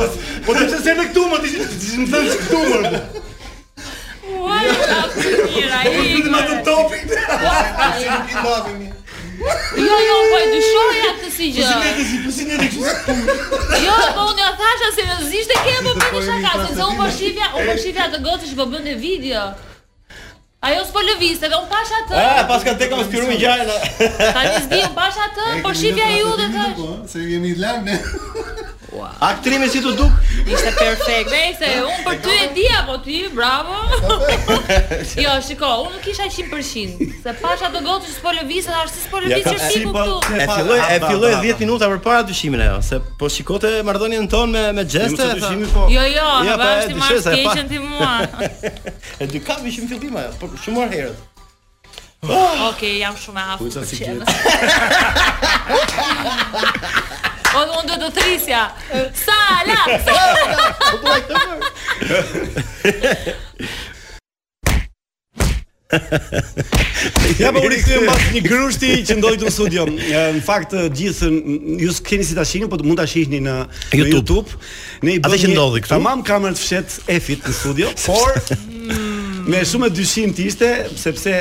Speaker 6: Po të pse në këtu më ti më thënë se këtu më.
Speaker 10: Ua, ta mira i.
Speaker 6: Po ti më të topit.
Speaker 10: Jo, jo, po e dyshoja këtë si gjë.
Speaker 6: Po si ne si po si
Speaker 10: Jo, po unë ja thasha seriozisht e ke po bëni shaka, se unë po shifja, unë po shifja atë gocë që po bënte video. Ajo s'po lëviste dhe unë pash atë.
Speaker 7: Ah, pas ka tekon spirum gjajë.
Speaker 10: Tani s'di unë pash atë, po shifja ju dhe thash.
Speaker 8: po, Se kemi live ne.
Speaker 10: Wow.
Speaker 7: Aktrimi si të duk?
Speaker 10: Ishte perfekt. Nëse unë për ty e di apo ti, bravo. jo, shiko, unë nuk kisha 100%, se pasha do gocë që s'po lëvizet, as
Speaker 9: Po,
Speaker 10: si s'po lëvizet që shiku këtu.
Speaker 7: E filloi e filloi 10 minuta përpara dyshimin ajo, se po shikote marrëdhënien tonë me me gjeste.
Speaker 10: Po. Jo, jo, ja, vazhdi marr skeqen ti mua.
Speaker 7: e dy kam ishim fillim ajo, po shumë herë herët.
Speaker 10: Okej, jam shumë e haftë. Kujta si gjë. O Po, unë do të thrisja. Sala.
Speaker 6: Ja po u rikthyem pas një grushti që ndodhi këtu në studio. Në fakt gjithë ju s'keni si ta shihni, por mund ta shihni në
Speaker 7: YouTube. Në YouTube.
Speaker 6: Ne i
Speaker 7: bëmë. që ndodhi këtu.
Speaker 6: Tamam kamerën të fshet Efit në studio, por mm, me shumë dyshim të ishte sepse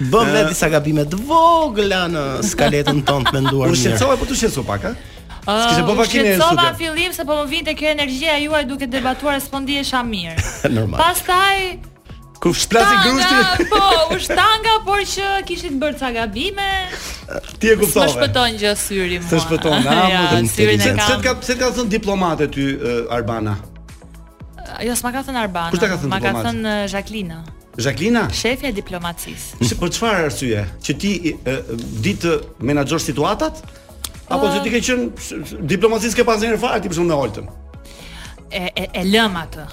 Speaker 7: Bëm ne disa gabime të vogla në skaletën tonë të menduar mirë.
Speaker 6: U shqetësova po tu shqetëso pak, a?
Speaker 10: S'kishte po vakinë në studio. Shqetësova fillim se po më vinte kjo energjia juaj duke debatuar se po ndihesha mirë.
Speaker 7: Normal.
Speaker 10: Pastaj
Speaker 6: Ku shplasi grushti.
Speaker 10: Po, u shtanga, por që kishit bërë ca gabime.
Speaker 6: Ti e kuptove.
Speaker 10: Më shpëton gjë syri mua.
Speaker 6: Të shpëton, a?
Speaker 10: ja, syrin e kam.
Speaker 6: Se ka se ka thënë diplomate ty Arbana.
Speaker 10: Jo, s'ma ka thënë Arbana.
Speaker 6: Kush ta ka thënë
Speaker 10: Ma ka thënë Jacqueline.
Speaker 6: Jacqueline?
Speaker 10: Shefja e diplomacisë.
Speaker 6: Si për çfarë arsye? Që ti e, ditë menaxhor situatat? Apo
Speaker 10: Po.
Speaker 6: që ti ke qenë diplomacisë ke pas ndonjë fare ti për shkak me Oltën?
Speaker 10: E, e, e lëm atë.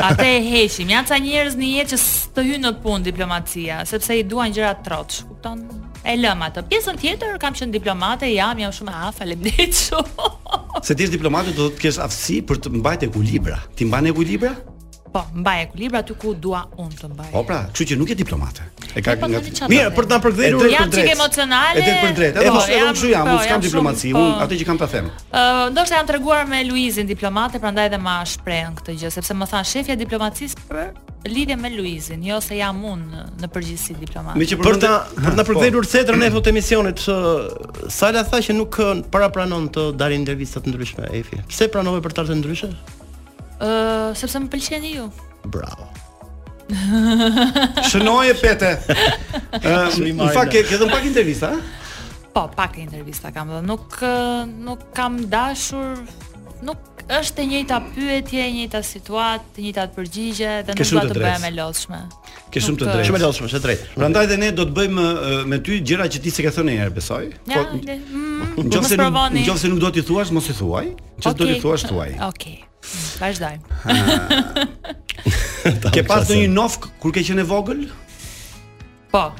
Speaker 10: Atë e heqim. Janë ca njerëz në jetë që të hynë në punë diplomacia, sepse i duan gjëra troç, kupton? E lëm atë. Pjesën tjetër kam qenë diplomate, jam, jam shumë ha, faleminderit shumë.
Speaker 6: Se ti je diplomate do të kesh aftësi për të mbajtë ekuilibra. Ti mban ekuilibra?
Speaker 10: Po, mbaj ekuilibra aty ku dua unë të mbaj.
Speaker 6: Po pra, kështu që nuk je diplomate.
Speaker 10: E po ka nga.
Speaker 6: Mirë, për të na përkthyer drejt për drejt. Jam
Speaker 10: çike emocionale.
Speaker 6: E drejt për drejt. Edhe unë jam, kështu jam, unë s'kam diplomaci, unë atë që kam ta them.
Speaker 10: Ë, ndoshta jam treguar me Luizin diplomate, prandaj edhe ma shprehën këtë gjë, sepse më than shefja diplomacisë për lidhje me Luizin, jo se jam unë në përgjithësi diplomat.
Speaker 7: Me që për ta po. për ta përkthyer thetrën e fot emisionit, Sala tha që nuk para pranon të dalin intervista të ndryshme Efi. Pse pranove për të ndryshme?
Speaker 10: Uh, sepse më pëlqeni ju.
Speaker 7: Bravo.
Speaker 6: Shënoje pete. Ëm, në fakt ke dhënë pak intervista,
Speaker 10: Po, pak intervista kam dhënë. Nuk nuk kam dashur, nuk është e njëjta pyetje, e njëjta situatë, të njëjtat përgjigje
Speaker 6: Ke
Speaker 10: dhe nuk
Speaker 6: shumë
Speaker 10: dua
Speaker 6: të
Speaker 10: të
Speaker 6: drejtë.
Speaker 10: bëhem e lodhshme.
Speaker 6: Ke shumë të
Speaker 10: Nuk,
Speaker 6: drejtë.
Speaker 10: uh,
Speaker 7: Shumë e lodhshme, është e drejtë.
Speaker 6: Prandaj dhe ne do të bëjmë uh, me ty gjëra që ti s'e ke thënë herë, besoj.
Speaker 10: Ja,
Speaker 6: Po,
Speaker 10: le- mm, mos
Speaker 6: Nëse nuk,
Speaker 10: provoni.
Speaker 6: nëse nuk do t'i thuash, mos i thuaj. Nëse do t'i
Speaker 10: Okej,
Speaker 6: thuash, thuaj.
Speaker 10: Okej. Mm, Vazhdojmë.
Speaker 6: Ke pas ndonjë nofk kur ke qenë e vogël?
Speaker 10: Po,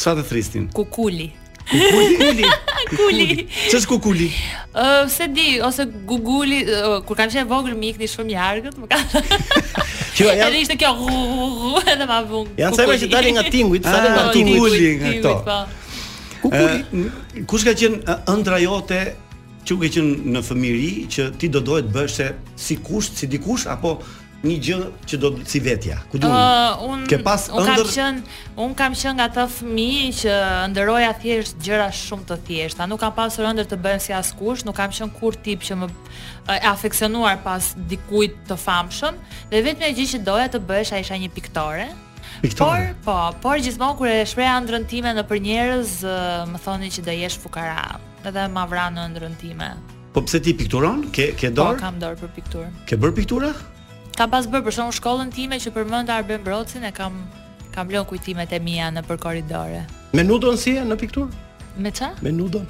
Speaker 6: Çfarë të thristin?
Speaker 10: kukuli.
Speaker 6: Kukuli.
Speaker 10: Kuli.
Speaker 6: Ç'është kukuli?
Speaker 10: Ë, se di, ose guguli, ë, kur kam qenë vogël më ikni shumë largët, më ka.
Speaker 7: Që janë-
Speaker 10: Edhe ishte kjo hu hu hu edhe ma vung.
Speaker 7: Janë sa herë
Speaker 10: po-
Speaker 7: që dalin nga tinguit, sa
Speaker 6: Ah,
Speaker 7: herë nga
Speaker 6: tinguit,
Speaker 7: tinguit.
Speaker 6: nga këto. Kukuli.
Speaker 10: po.
Speaker 6: Kush ka qenë ë, ëndra jote që u ke qenë në fëmijëri që ti do dohet bësh se si kush, si dikush apo një gjë që do si vetja? Ku diun?
Speaker 10: Uh, un
Speaker 6: ke pas
Speaker 10: un kam
Speaker 6: ëndër
Speaker 10: qen un kam qen nga ta fëmijë që ndëroja thjesht gjëra shumë të thjeshta. Nuk kam pasur ëndër të bëhem si askush, nuk kam qen kur tip që më e afeksionuar pas dikujt të famshëm dhe vetëm gjë që doja të bëhesha isha një piktore.
Speaker 6: Piktore?
Speaker 10: Por, po, por gjithmonë kur e shpreha ëndrrën time nëpër njerëz, ë, më thonin që do jesh fukara. Edhe ma vranë në ëndrrën time.
Speaker 6: Po pse ti pikturon? Ke ke
Speaker 10: Po
Speaker 6: dorë?
Speaker 10: kam dorë për pikturë.
Speaker 6: Ke bër piktura?
Speaker 10: Kam pas bërë për shkakun shkollën time që përmend Arben Brocin e kam kam lënë kujtimet e mia në për korridore.
Speaker 7: Me nudon si e në pikturë?
Speaker 10: Me ça?
Speaker 7: Me nudon.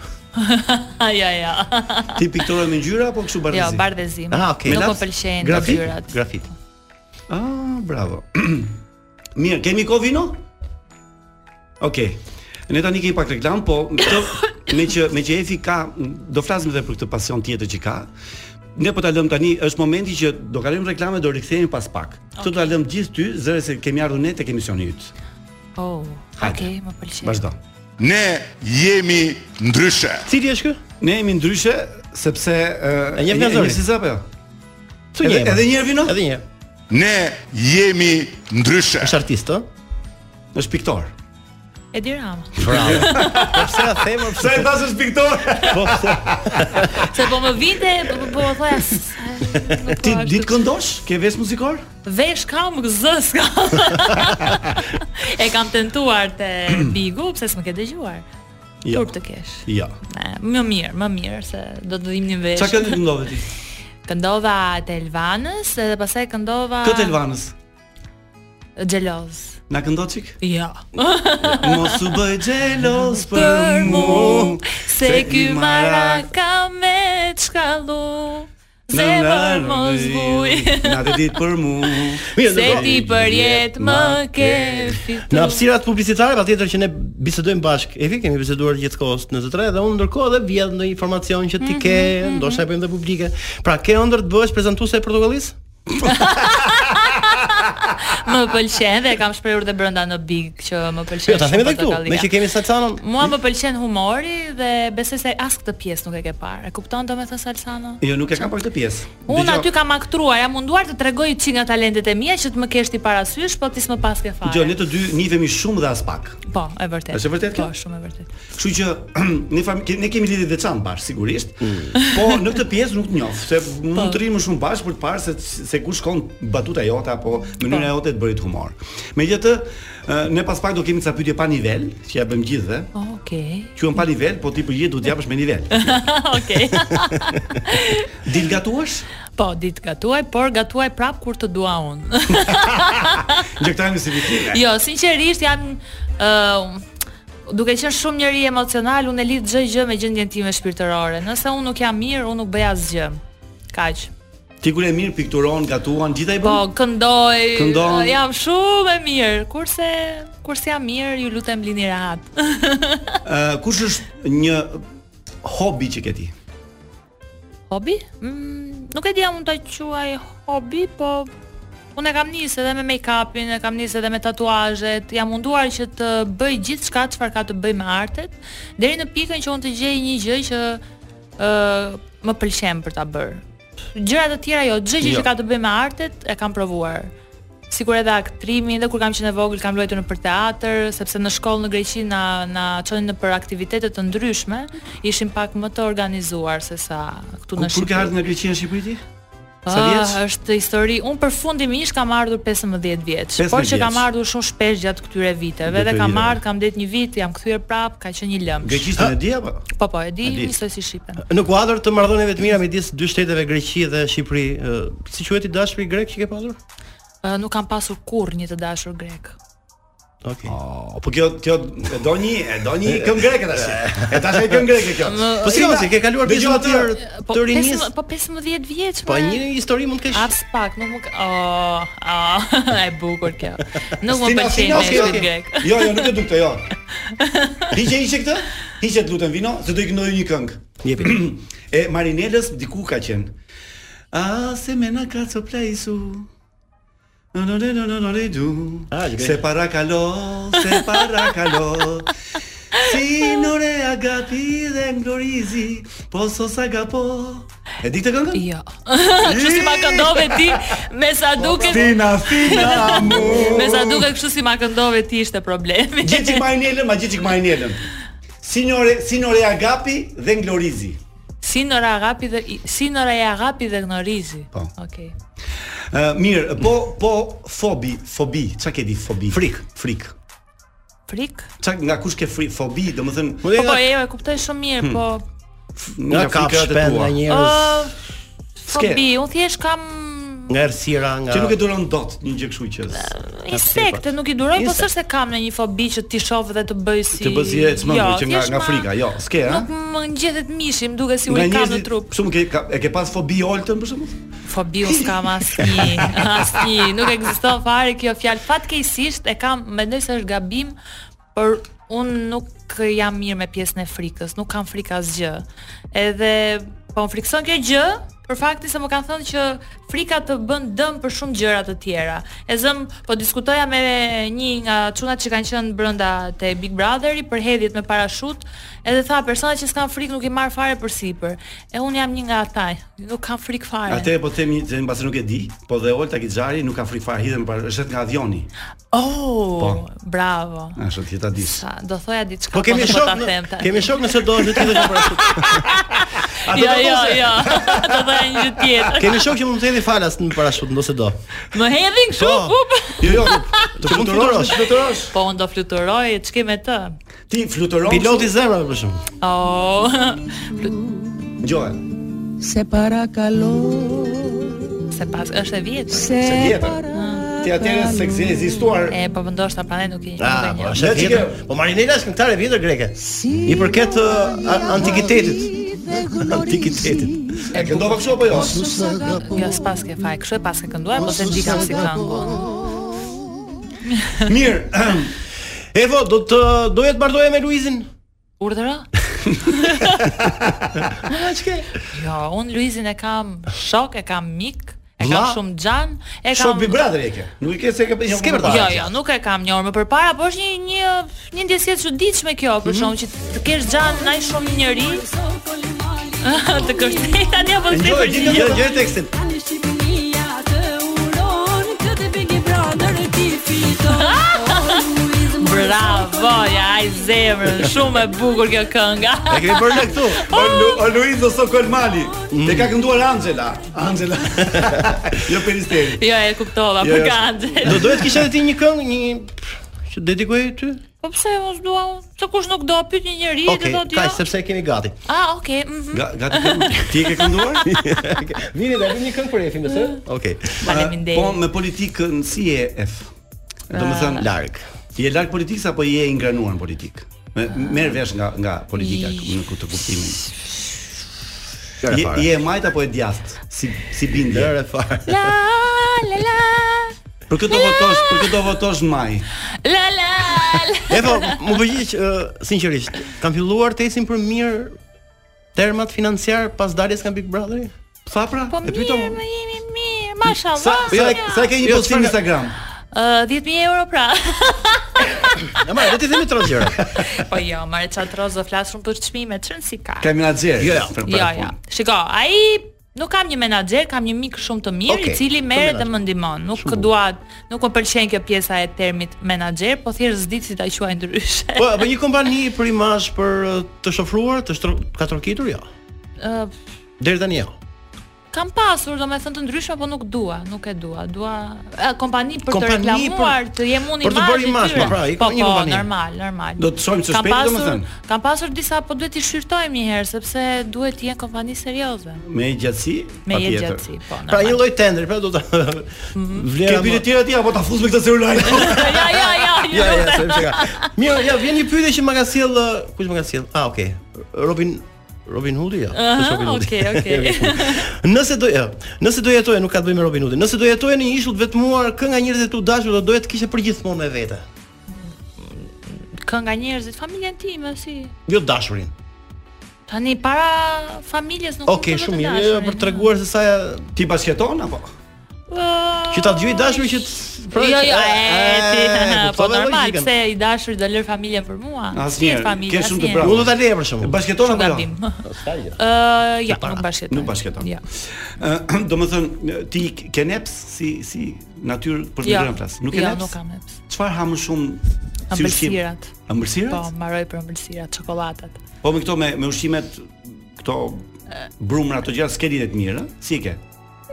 Speaker 10: ja, ja.
Speaker 6: Ti piktura me ngjyra apo kështu bardhëzi?
Speaker 10: Jo, bardhëzim.
Speaker 6: Ah, okay.
Speaker 10: Nuk
Speaker 6: Me
Speaker 10: po- më
Speaker 6: laps?
Speaker 10: pëlqejnë
Speaker 6: Grafit?
Speaker 10: ngjyrat.
Speaker 7: Grafit.
Speaker 6: Ah, bravo. Mirë, kemi kohë vino? Okej. Ne tani kemi pak reklam, po këtë me që me që Efi ka do flasim edhe për këtë pasion tjetër që ka. Ne po ta lëm tani, është momenti që do kalojmë reklame, do rikthehemi pas pak. Këtë do ta lëm gjithë ty, zëre se kemi ardhur ne tek emisioni yt.
Speaker 10: Oh,
Speaker 6: Hajde.
Speaker 10: okay, më pëlqen.
Speaker 6: Vazhdo.
Speaker 8: Ne jemi ndryshe.
Speaker 6: Cili është ky? Ne jemi ndryshe sepse uh,
Speaker 7: E njeh nga zëri?
Speaker 6: Si apo jo?
Speaker 7: Pse
Speaker 6: Edhe-
Speaker 7: njeh,
Speaker 6: Edhe
Speaker 7: ma?
Speaker 6: një herë vino?
Speaker 7: Edhe një herë.
Speaker 8: Ne jemi ndryshe.
Speaker 7: Është artist, ë?
Speaker 6: Është piktor.
Speaker 10: Edi Rama.
Speaker 7: Bravo. Po pse a them?
Speaker 6: Pse e thash është piktor?
Speaker 7: Po pse?
Speaker 10: Se po më vinte, po po- po më thoja. "S-
Speaker 6: Ti
Speaker 10: nuk po ashtu."
Speaker 6: ditë këndosh? Ke vesh muzikor?
Speaker 10: Vesh kam, zës kam. e kam tentuar te Bigu, pse s'më ke dëgjuar.
Speaker 6: Jo.
Speaker 10: Turp të kesh.
Speaker 6: Jo.
Speaker 10: Ne, Eh, më mirë, më mirë se do të dhimni vesh.
Speaker 6: Çka këngë këndove ti?
Speaker 10: Këndova të Elvanës edhe pastaj këndova
Speaker 6: Këtë Elvanës.
Speaker 10: Xheloz.
Speaker 6: Na këndo çik?
Speaker 10: Jo.
Speaker 6: Mos u bëj xhelos për
Speaker 10: Për
Speaker 6: mu
Speaker 10: mu, se ky marak ka me të shkallu Zemër mos vuj
Speaker 6: Na të ditë për mu
Speaker 10: Se ti për jetë më ke
Speaker 7: Në
Speaker 10: fitu
Speaker 7: hapësirat publicitare patjetër që ne bisedojmë bashk. Evi kemi biseduar gjithkohës në të tre dhe unë ndërkohë edhe vjedh ndonjë informacion që
Speaker 10: Mhm,
Speaker 7: ti ke, ndoshta e bëjmë dhe publike. Pra ke ëndër të bëhesh prezantuese e protokollis?
Speaker 10: Më pëlqen dhe kam shprehur dhe brenda në Big që më pëlqen
Speaker 7: Jo, ta
Speaker 10: shumë
Speaker 7: themi edhe këtu,
Speaker 10: portokallia.
Speaker 7: me që kemi Salsanon.
Speaker 10: Mua më pëlqen humori dhe besoj se as këtë pjesë nuk e ke parë. E kupton domethënë Salsano?
Speaker 6: Jo, nuk e kam për këtë pjesë
Speaker 10: Unë
Speaker 6: Dëgjo-
Speaker 10: aty kam aktruar, jam munduar të tregoj çi nga talentet e mia që të më kesh ti parasysh, po ti s'më pas ke fare.
Speaker 6: Dëgjo, ne të dy nifemi shumë dhe as pak
Speaker 10: Po, e vërtet.
Speaker 6: Është e vërtet kjo?
Speaker 10: Po, shumë e vërtet.
Speaker 6: Kështu që ne, fam, ke- ne kemi lidhje të veçantë bashkë sigurisht, po në këtë pjesë nuk njoh, se
Speaker 10: Po.
Speaker 6: mund të rrimë shumë bashkë për të parë se se ku shkon batuta jote apo mënyra
Speaker 10: Po.
Speaker 6: jote të bërit humor. Megjithatë, ë, ne pas pak do kemi ca pyetje pa nivel, që ja bëjmë gjithëve.
Speaker 10: Okej.
Speaker 6: Quhen pa nivel, po ti përgjigj do të japësh me nivel.
Speaker 10: Okej.
Speaker 6: Dil gatuash?
Speaker 10: Po, ditë gatuaj, por gatuaj prap kur të dua unë.
Speaker 6: Gjektajmë si vitime.
Speaker 10: jo, sinqerisht jam ë duke qenë shumë njëri emocional, unë e lidh çdo gjë me gjendjen time shpirtërore. Nëse unë nuk jam mirë, unë nuk bëj asgjë. Kaq.
Speaker 6: Ti kur e mirë pikturon, gatuan, gjithaj
Speaker 10: Po,
Speaker 6: bën.
Speaker 10: këndoj.
Speaker 6: Këndon.
Speaker 10: ë, Ah, Jam shumë e mirë. Kurse kurse jam mirë, ju lutem lini rahat.
Speaker 6: Ë, Eh, kush është një hobi që ke ti?
Speaker 10: Hobi? Mm, nuk e di a mund ta quaj hobi, po unë e kam nisë edhe me make-upin, e kam nisë edhe me tatuazhet, jam munduar që të bëj gjithçka çfarë ka të bëj me artet, deri në pikën që unë të gjej një gjë që ë më pëlqen për ta bërë. Gjëra të tjera jo, çdo gjë
Speaker 6: Jo.
Speaker 10: që ka të bëj me artet e kam provuar. Sikur edhe aktrimi, edhe kur kam qenë e vogël kam luajtur në për teatr, sepse në shkollë në Greqi na na çonin në për aktivitete të ndryshme, ishin pak më të organizuar se sa këtu
Speaker 6: Ku-
Speaker 10: në
Speaker 6: Kur ke
Speaker 10: Shqipëri.
Speaker 6: ardhur nga Greqia në Shqipëri ti? Sa vjeç?
Speaker 10: Ah, është histori. Un përfundimisht kam ardhur 15 vjeç,
Speaker 6: 15
Speaker 10: por që kam
Speaker 6: vjeç.
Speaker 10: ardhur shumë shpesh gjatë këtyre viteve
Speaker 6: Gjatë
Speaker 10: dhe kam
Speaker 6: viteve.
Speaker 10: ardhur, kam det një vit, jam kthyer prap, ka qenë një lëmsh.
Speaker 7: Greqishtën e di apo?
Speaker 10: Po po, e di,
Speaker 7: E di.
Speaker 10: njësoj si shqipen.
Speaker 7: Në kuadër të marrëdhënieve të mira midis dy shteteve Greqi dhe Shqipëri, ë, si quhet i dashuri grek që ke pasur?
Speaker 10: Ë, nuk kam pasur kurrë një të dashur grek.
Speaker 7: Okej.
Speaker 6: Oh, po kjo kjo e do një, e do një këngë greke tash. E tash e këngë greke kjo.
Speaker 10: Më-
Speaker 7: Po si mos e ke kaluar
Speaker 6: Dëgjoj
Speaker 7: pjesën
Speaker 6: atë.
Speaker 7: tjetër
Speaker 10: Po
Speaker 7: të rinis?
Speaker 10: 15 po 15 vjeç.
Speaker 7: Po,
Speaker 10: more.
Speaker 7: një histori mund të kesh.
Speaker 10: As pak, nuk më ka- oh, oh, e bukur kjo. Nuk më
Speaker 6: Stina,
Speaker 10: pëlqen
Speaker 6: Stina,
Speaker 10: okay,
Speaker 6: Stina.
Speaker 10: grek.
Speaker 6: Jo, jo, nuk e dukte, jo. Hiqe hiqe këtë? Hiqe të lutem vino, se do i këndoj një këngë.
Speaker 7: Jepi.
Speaker 6: e Marinelës diku ka qenë. A se me na kraco plejsu No no no no no no le du Se para calo, se para calo Si nore agapi dhe nglorizi Po sos agapo E di këtë këngën?
Speaker 10: Jo Kështu si ma këndove ti, me sa duket
Speaker 6: Fina, fina, mu.
Speaker 10: Me sa duket kështu si ma këndove ti ishte problemi.
Speaker 6: Gjithë qik marinelën, ma gjithë qik marinelën Sinore, sinore agapi dhe nglorizi
Speaker 10: Sinora Agapi dhe Sinora e Agapi dhe Gnorizi. Po. Okej.
Speaker 6: Ë, Mirë, po, po, fobi, fobi, qa ke di fobi? Frik Frik
Speaker 10: Frik?
Speaker 6: Qa, nga kush ke fri, fobi, do më thënë
Speaker 10: Po po, jo, e kuptoj shumë mirë,
Speaker 6: Hmm.
Speaker 10: po.
Speaker 7: Nga kafshë, nga njerëz,
Speaker 10: Ë, Fobi, unë thjesht kam
Speaker 7: nga errësira, nga
Speaker 6: Që nuk e duron dot një gjë kështu që.
Speaker 10: insekte, nuk i duroj, po
Speaker 6: Insekte.
Speaker 10: s'është se kam në një fobi që ti shoh dhe të bëj si
Speaker 6: Të bëj si e çmendur që nga
Speaker 10: thjesht
Speaker 6: nga
Speaker 10: ma-
Speaker 6: frika, jo, s'ke, ha?
Speaker 10: Nuk më ngjethet mishi, më duket si unikam në trup.
Speaker 6: Shumë ke ka, e ke pas fobi oltën për shembull?
Speaker 10: Fobi unë s'kam asnjë, asnjë, nuk ekziston fare kjo fjalë. Fatkeqësisht e kam, mendoj se është gabim, por unë nuk jam mirë me pjesën e frikës, nuk kam frikë asgjë. Edhe po më frikson kjo gjë, për faktin se më kanë thënë që frika të bën dëm për shumë gjëra të tjera. E zëm, po diskutoja me një nga çunat që kanë qenë brenda te Big Brotheri për hedhjet me parashut, edhe tha persona që s'kan frikë nuk i marr fare përsipër. E un jam një nga ata. Nuk kam frikë fare.
Speaker 6: Atë po themi se mbase nuk e di, po dhe Olta Kixhari nuk ka frikë fare hidhen para është nga avioni.
Speaker 10: Oh,
Speaker 6: Po.
Speaker 10: bravo.
Speaker 6: Ashtu ti ta di.
Speaker 10: Sa, do thoja diçka.
Speaker 7: Po kemi
Speaker 10: nuk do
Speaker 7: shok,
Speaker 10: ta
Speaker 7: në-
Speaker 10: them tani.
Speaker 7: kemi shok nëse do vetë të parashut. Atë
Speaker 10: Jo,
Speaker 7: do
Speaker 10: jo,
Speaker 7: thosë.
Speaker 10: jo. Do thoja një gjë tjetër.
Speaker 7: Kemi shok që mund të hedhë falas në parashut, nëse do.
Speaker 10: Më hedhin kështu.
Speaker 7: Po.
Speaker 10: up.
Speaker 7: Jo, jo, të fluturosh.
Speaker 6: fluturosh.
Speaker 10: Po unë do fluturoj, ç'ke me të?
Speaker 6: Ti fluturon.
Speaker 7: Piloti zemra për shemb.
Speaker 10: Oh. flut-
Speaker 6: Dgjoj.
Speaker 12: Se para kalon
Speaker 10: Se pas është e vjetër.
Speaker 12: Se Se vjetër.
Speaker 6: Ti atëherë se ke ekzistuar.
Speaker 10: E po ndoshta prandaj nuk i
Speaker 7: Ah,
Speaker 10: nuk
Speaker 7: po
Speaker 10: e njoh.
Speaker 7: është e vjetër. Po Marinela është këngëtare e vjetër greke. I përket ë, a- antikitetit. Antikitetit.
Speaker 6: E këndova kështu apo jo?
Speaker 10: Jo, s'pas ke faj. Kështu e pas ke kënduar, po se ndikam si këngun.
Speaker 6: Mirë.
Speaker 7: Evo, do të doja të martoja me Luizin.
Speaker 10: Urdhëra?
Speaker 7: Ah, ç'ke?
Speaker 10: Jo, unë Luizin e kam shok, e kam mik, e kam
Speaker 6: Vlla?
Speaker 10: shumë xhan, e kam
Speaker 6: Shok Big Brother e ke. Nuk e ke se ke një.
Speaker 10: Jo, jo, nuk e kam njohur më përpara, por është një një një ndjesë e çuditshme kjo,
Speaker 11: Mhm.
Speaker 10: për shkak që të kesh xhan ndaj shumë një njerëj. të kërcej tani apo të
Speaker 7: Dgjoj,
Speaker 10: kërcej.
Speaker 7: dgjoj, dgjoj tekstin.
Speaker 12: Tani Shqipënia të uron Këtë Big Brother ti fiton
Speaker 10: Bravo, ja ai zemrën, shumë e bukur kjo kënga.
Speaker 6: E kemi bërë ne këtu.
Speaker 10: Oh.
Speaker 6: O, Lu- o Luizo Sokolmani.
Speaker 10: Mm.
Speaker 6: Te ka kënduar Angela. Angela. jo Peristeri.
Speaker 10: Jo, e kuptova,
Speaker 6: Jo,
Speaker 10: për
Speaker 6: jo.
Speaker 10: kandë.
Speaker 7: Do doja të kisha edhe ti një këngë, një që dedikoj ty?
Speaker 10: Po pse mos dua? unë? Se kush nuk do pyet një njerëz
Speaker 7: Okej,
Speaker 10: dhe thotë
Speaker 7: kaq
Speaker 10: jo.
Speaker 7: sepse e kemi gati.
Speaker 10: Ah, okay. mhm.
Speaker 6: gati Ti e ke kënduar?
Speaker 7: Vini ta bëjmë një këngë për Efin, besoj? Okej.
Speaker 10: Faleminderit. Ah.
Speaker 6: Po me politikën si e F. Do të thënë
Speaker 7: larg.
Speaker 6: Je larg politikës apo je ingranuar në politikë? Me- Merr vesh nga nga politika në këtë kuptimin.
Speaker 7: Lëre
Speaker 6: Je,
Speaker 7: fare.
Speaker 6: je e majt apo e djathtë? Si si bindje?
Speaker 7: Lëre fare.
Speaker 10: La la la.
Speaker 6: Për këtë do votosh, për këtë do votosh në maj.
Speaker 10: La la.
Speaker 7: Evo, po, më përgjigj ë, sinqerisht. Kam filluar tesin për mirë termat financiar pas daljes nga Big Brotheri?
Speaker 6: Sa pra?
Speaker 10: Po mirë, më jemi mirë. Mashallah.
Speaker 7: sa
Speaker 6: sa ke
Speaker 7: Jo,
Speaker 6: një postim në Instagram?
Speaker 10: Ë, 10000 euro pra.
Speaker 7: Ja marr, do t'i themi tre gjëra.
Speaker 10: po jo, marrë çat rozë flas shumë për çmime, çën si ka.
Speaker 6: Ka menaxher.
Speaker 7: Jo, jo.
Speaker 6: Për- për-
Speaker 10: Jo, jo. Shiko, ai nuk kam një menaxher, kam një mik shumë të mirë
Speaker 7: Okej,
Speaker 10: i cili
Speaker 7: të
Speaker 10: merret dhe
Speaker 7: menaxher.
Speaker 10: më ndihmon. Nuk dua, nuk më pëlqen kjo pjesa e termit menaxher, po thjesht s'di si ta quaj ndryshe.
Speaker 7: Po, apo një kompani për imazh për ë, të shofruar, të shtro, ka trokitur jo.
Speaker 10: Ë,
Speaker 7: Deri tani jo.
Speaker 11: Kam pasur, domethënë të ndryshme, po nuk dua, nuk e dua. Dua e, kompani për
Speaker 7: Kompani
Speaker 11: të reklamuar,
Speaker 7: për-
Speaker 11: të jem unë
Speaker 7: për të bërë imazh,
Speaker 11: tyre.
Speaker 7: po, pra, i
Speaker 11: po,
Speaker 7: ka një
Speaker 11: po,
Speaker 7: kompani.
Speaker 11: normal, normal.
Speaker 6: Do të shojmë së
Speaker 11: Kam
Speaker 6: shpejti,
Speaker 11: pasur-
Speaker 6: domethënë.
Speaker 11: Kam pasur disa, po duhet i shqyrtojmë një herë sepse duhet të jenë kompani serioze.
Speaker 6: Me gjatësi?
Speaker 11: Me jetë
Speaker 6: patjetër.
Speaker 11: gjatësi, po.
Speaker 7: Pra një lloj tenderi, pra do ta vlera.
Speaker 6: Ke biletira ti apo po ta fus me këtë celular?
Speaker 11: ja, ja, ja,
Speaker 7: Ja, ja, se më shaka. Mirë, ja, vjen një pyetje që më ka sjell, ë, kush më ka sjell? Ah, okay. Robin Robin Hoodi ja.
Speaker 11: Aha,
Speaker 7: është Robin Hoodi.
Speaker 11: okay, okay.
Speaker 7: nëse do, ja, nëse do jetoje, nuk ka të bëjë me Robin Hoodin. Nëse do jetoje në një ishull të vetmuar, kë nga njerëzit e tu dashur do doje të kishe përgjithmonë me vete.
Speaker 11: Kë nga njerëzit, familjen time si.
Speaker 7: Jo dashurin.
Speaker 11: Po, Tani para familjes nuk
Speaker 7: Okej, shumë mirë, jo, për treguar se sa
Speaker 6: ti pasqeton apo?
Speaker 7: Që ta dëgjoj dashurin që të- pra,
Speaker 11: jo, jo,
Speaker 7: që-
Speaker 11: e, ti, po
Speaker 7: kuptove
Speaker 11: normal,
Speaker 7: logjikën.
Speaker 11: pse i dashur do lër familjen për mua?
Speaker 6: Asnjëherë,
Speaker 11: S'jetë familje,
Speaker 6: ke shumë të
Speaker 11: asnjëherë.
Speaker 6: prapë.
Speaker 7: Unë do ta leje për shkakun.
Speaker 6: Bashketon apo jo?
Speaker 11: Gabim.
Speaker 7: Ska gjë.
Speaker 11: Ë, ja, nuk bashketon.
Speaker 6: Nuk bashketon.
Speaker 11: Ja.
Speaker 6: Ë, Domethënë ti ke neps si si natyrë për të
Speaker 11: Ja.
Speaker 6: dhënë flas. Nuk ke
Speaker 11: Ja,
Speaker 6: neps?
Speaker 11: nuk kam neps.
Speaker 6: Çfarë ha më shumë si ushqim?
Speaker 11: Ëmbëlsirat. Po,
Speaker 6: Ëmbëlsirat?
Speaker 11: mbaroj për ëmbëlsirat, çokoladat.
Speaker 6: Po. me këto me me ushqimet këto brumra ato gjëra skelit e të mirë, ë? si e ke?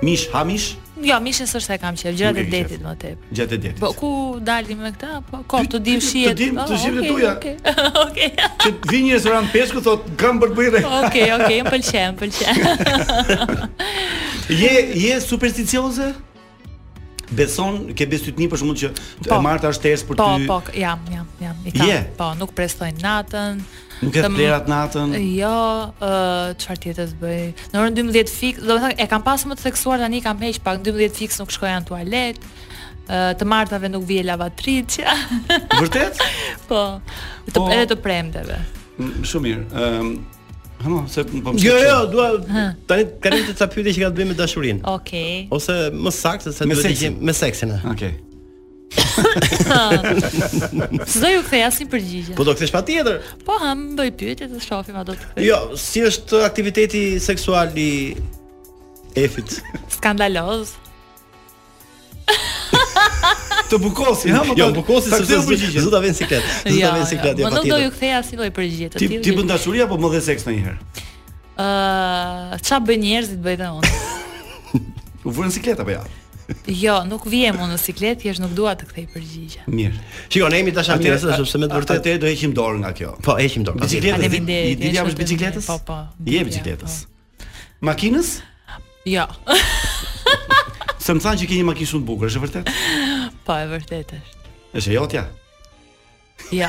Speaker 6: Mish, ha mish
Speaker 11: Jo, mishin s'është se kam qef, gjërat
Speaker 6: Nuk
Speaker 11: e
Speaker 6: e ke qef.
Speaker 11: detit më tepër.
Speaker 6: gjatë e detit.
Speaker 11: Po ku dalim me këta? Po kom të dim
Speaker 6: Ty- ty- të
Speaker 11: shihet.
Speaker 6: dim,
Speaker 11: Oh,
Speaker 6: të shihet
Speaker 11: okay,
Speaker 6: e tuja.
Speaker 11: okay. Okej.
Speaker 6: Që vi një restorant peshku thot kam për të bërë.
Speaker 11: Okej, okej, më pëlqen, më pëlqen.
Speaker 6: Je je supersticioze? Beson, ke besytni për shkakun që
Speaker 11: Po.
Speaker 6: e Marta është ters për
Speaker 11: Po,
Speaker 6: ty.
Speaker 11: po, k- jam, jam, jam. I kam.
Speaker 6: Je.
Speaker 11: Po, nuk prestojnë natën.
Speaker 6: Nuk e
Speaker 11: të m-
Speaker 6: flerat natën.
Speaker 11: Jo, ë çfarë tjetër të bëj? Në orën 12 fik, do të thënë e kam pas më të theksuar tani kam heq pak 12 fiks nuk shkoja në tualet. ë të martave nuk vije lavatriçja.
Speaker 6: Vërtet?
Speaker 11: po. Të,
Speaker 6: Po.
Speaker 11: Edhe të premteve.
Speaker 6: Mm, Shumë mirë. Ëm, hano, se po më
Speaker 7: Jo,
Speaker 6: shkëlqeu.
Speaker 7: jo, dua tani kanë të ca pyetje që ka të bëjë me dashurinë.
Speaker 11: Okej.
Speaker 7: Ose më saktë se
Speaker 6: Me
Speaker 7: duhet të
Speaker 6: seksin.
Speaker 7: gjejmë me seksin. e.
Speaker 6: Okej.
Speaker 11: S'do ju kthej asnjë përgjigje.
Speaker 7: Po do kthesh patjetër.
Speaker 11: Po, ha, më bëj pyetje të shohim a do të kthej.
Speaker 7: Jo, si është aktiviteti seksual i Efit?
Speaker 11: Skandaloz.
Speaker 6: Të bukosi, ha, më
Speaker 7: Jo,
Speaker 6: pak-
Speaker 7: bukosi
Speaker 6: ta
Speaker 7: sepse
Speaker 6: ktheu
Speaker 7: s'do
Speaker 6: përgjigje.
Speaker 7: s'do ta vën siklet. S'do ta vën siklet ja
Speaker 11: më po nuk do ju
Speaker 7: patjetër.
Speaker 11: kthej asnjë lloj përgjigje të
Speaker 6: Ti
Speaker 11: tillë.
Speaker 6: ti bën dashuri apo më dhe seks ndonjëherë?
Speaker 11: Ë, ç'a bën njerëzit bëj dhe unë.
Speaker 6: U vënë siklet apo ja?
Speaker 11: Jo, nuk vijem unë në siklet, thjesht nuk dua të kthej përgjigje.
Speaker 6: Mirë.
Speaker 7: Shikoj, ne jemi dashamirë
Speaker 6: a-
Speaker 7: sepse me të vërtetë
Speaker 6: atë do heqim dorë nga kjo.
Speaker 7: po heqim dorë. patjetër.
Speaker 6: Bicikletës.
Speaker 11: Faleminderit,
Speaker 6: I
Speaker 11: jesh
Speaker 6: dilja
Speaker 11: shumë
Speaker 6: është
Speaker 11: e
Speaker 6: bicikletës?
Speaker 11: mirë, po, po,
Speaker 6: Je
Speaker 11: dilja,
Speaker 6: bicikletës. Makinës?
Speaker 11: Jo,
Speaker 6: Se më thanë që ke një makinë shumë të bukur, është e vërtet?
Speaker 11: po e vërtetë është.
Speaker 6: Është e jotja.
Speaker 11: Jo.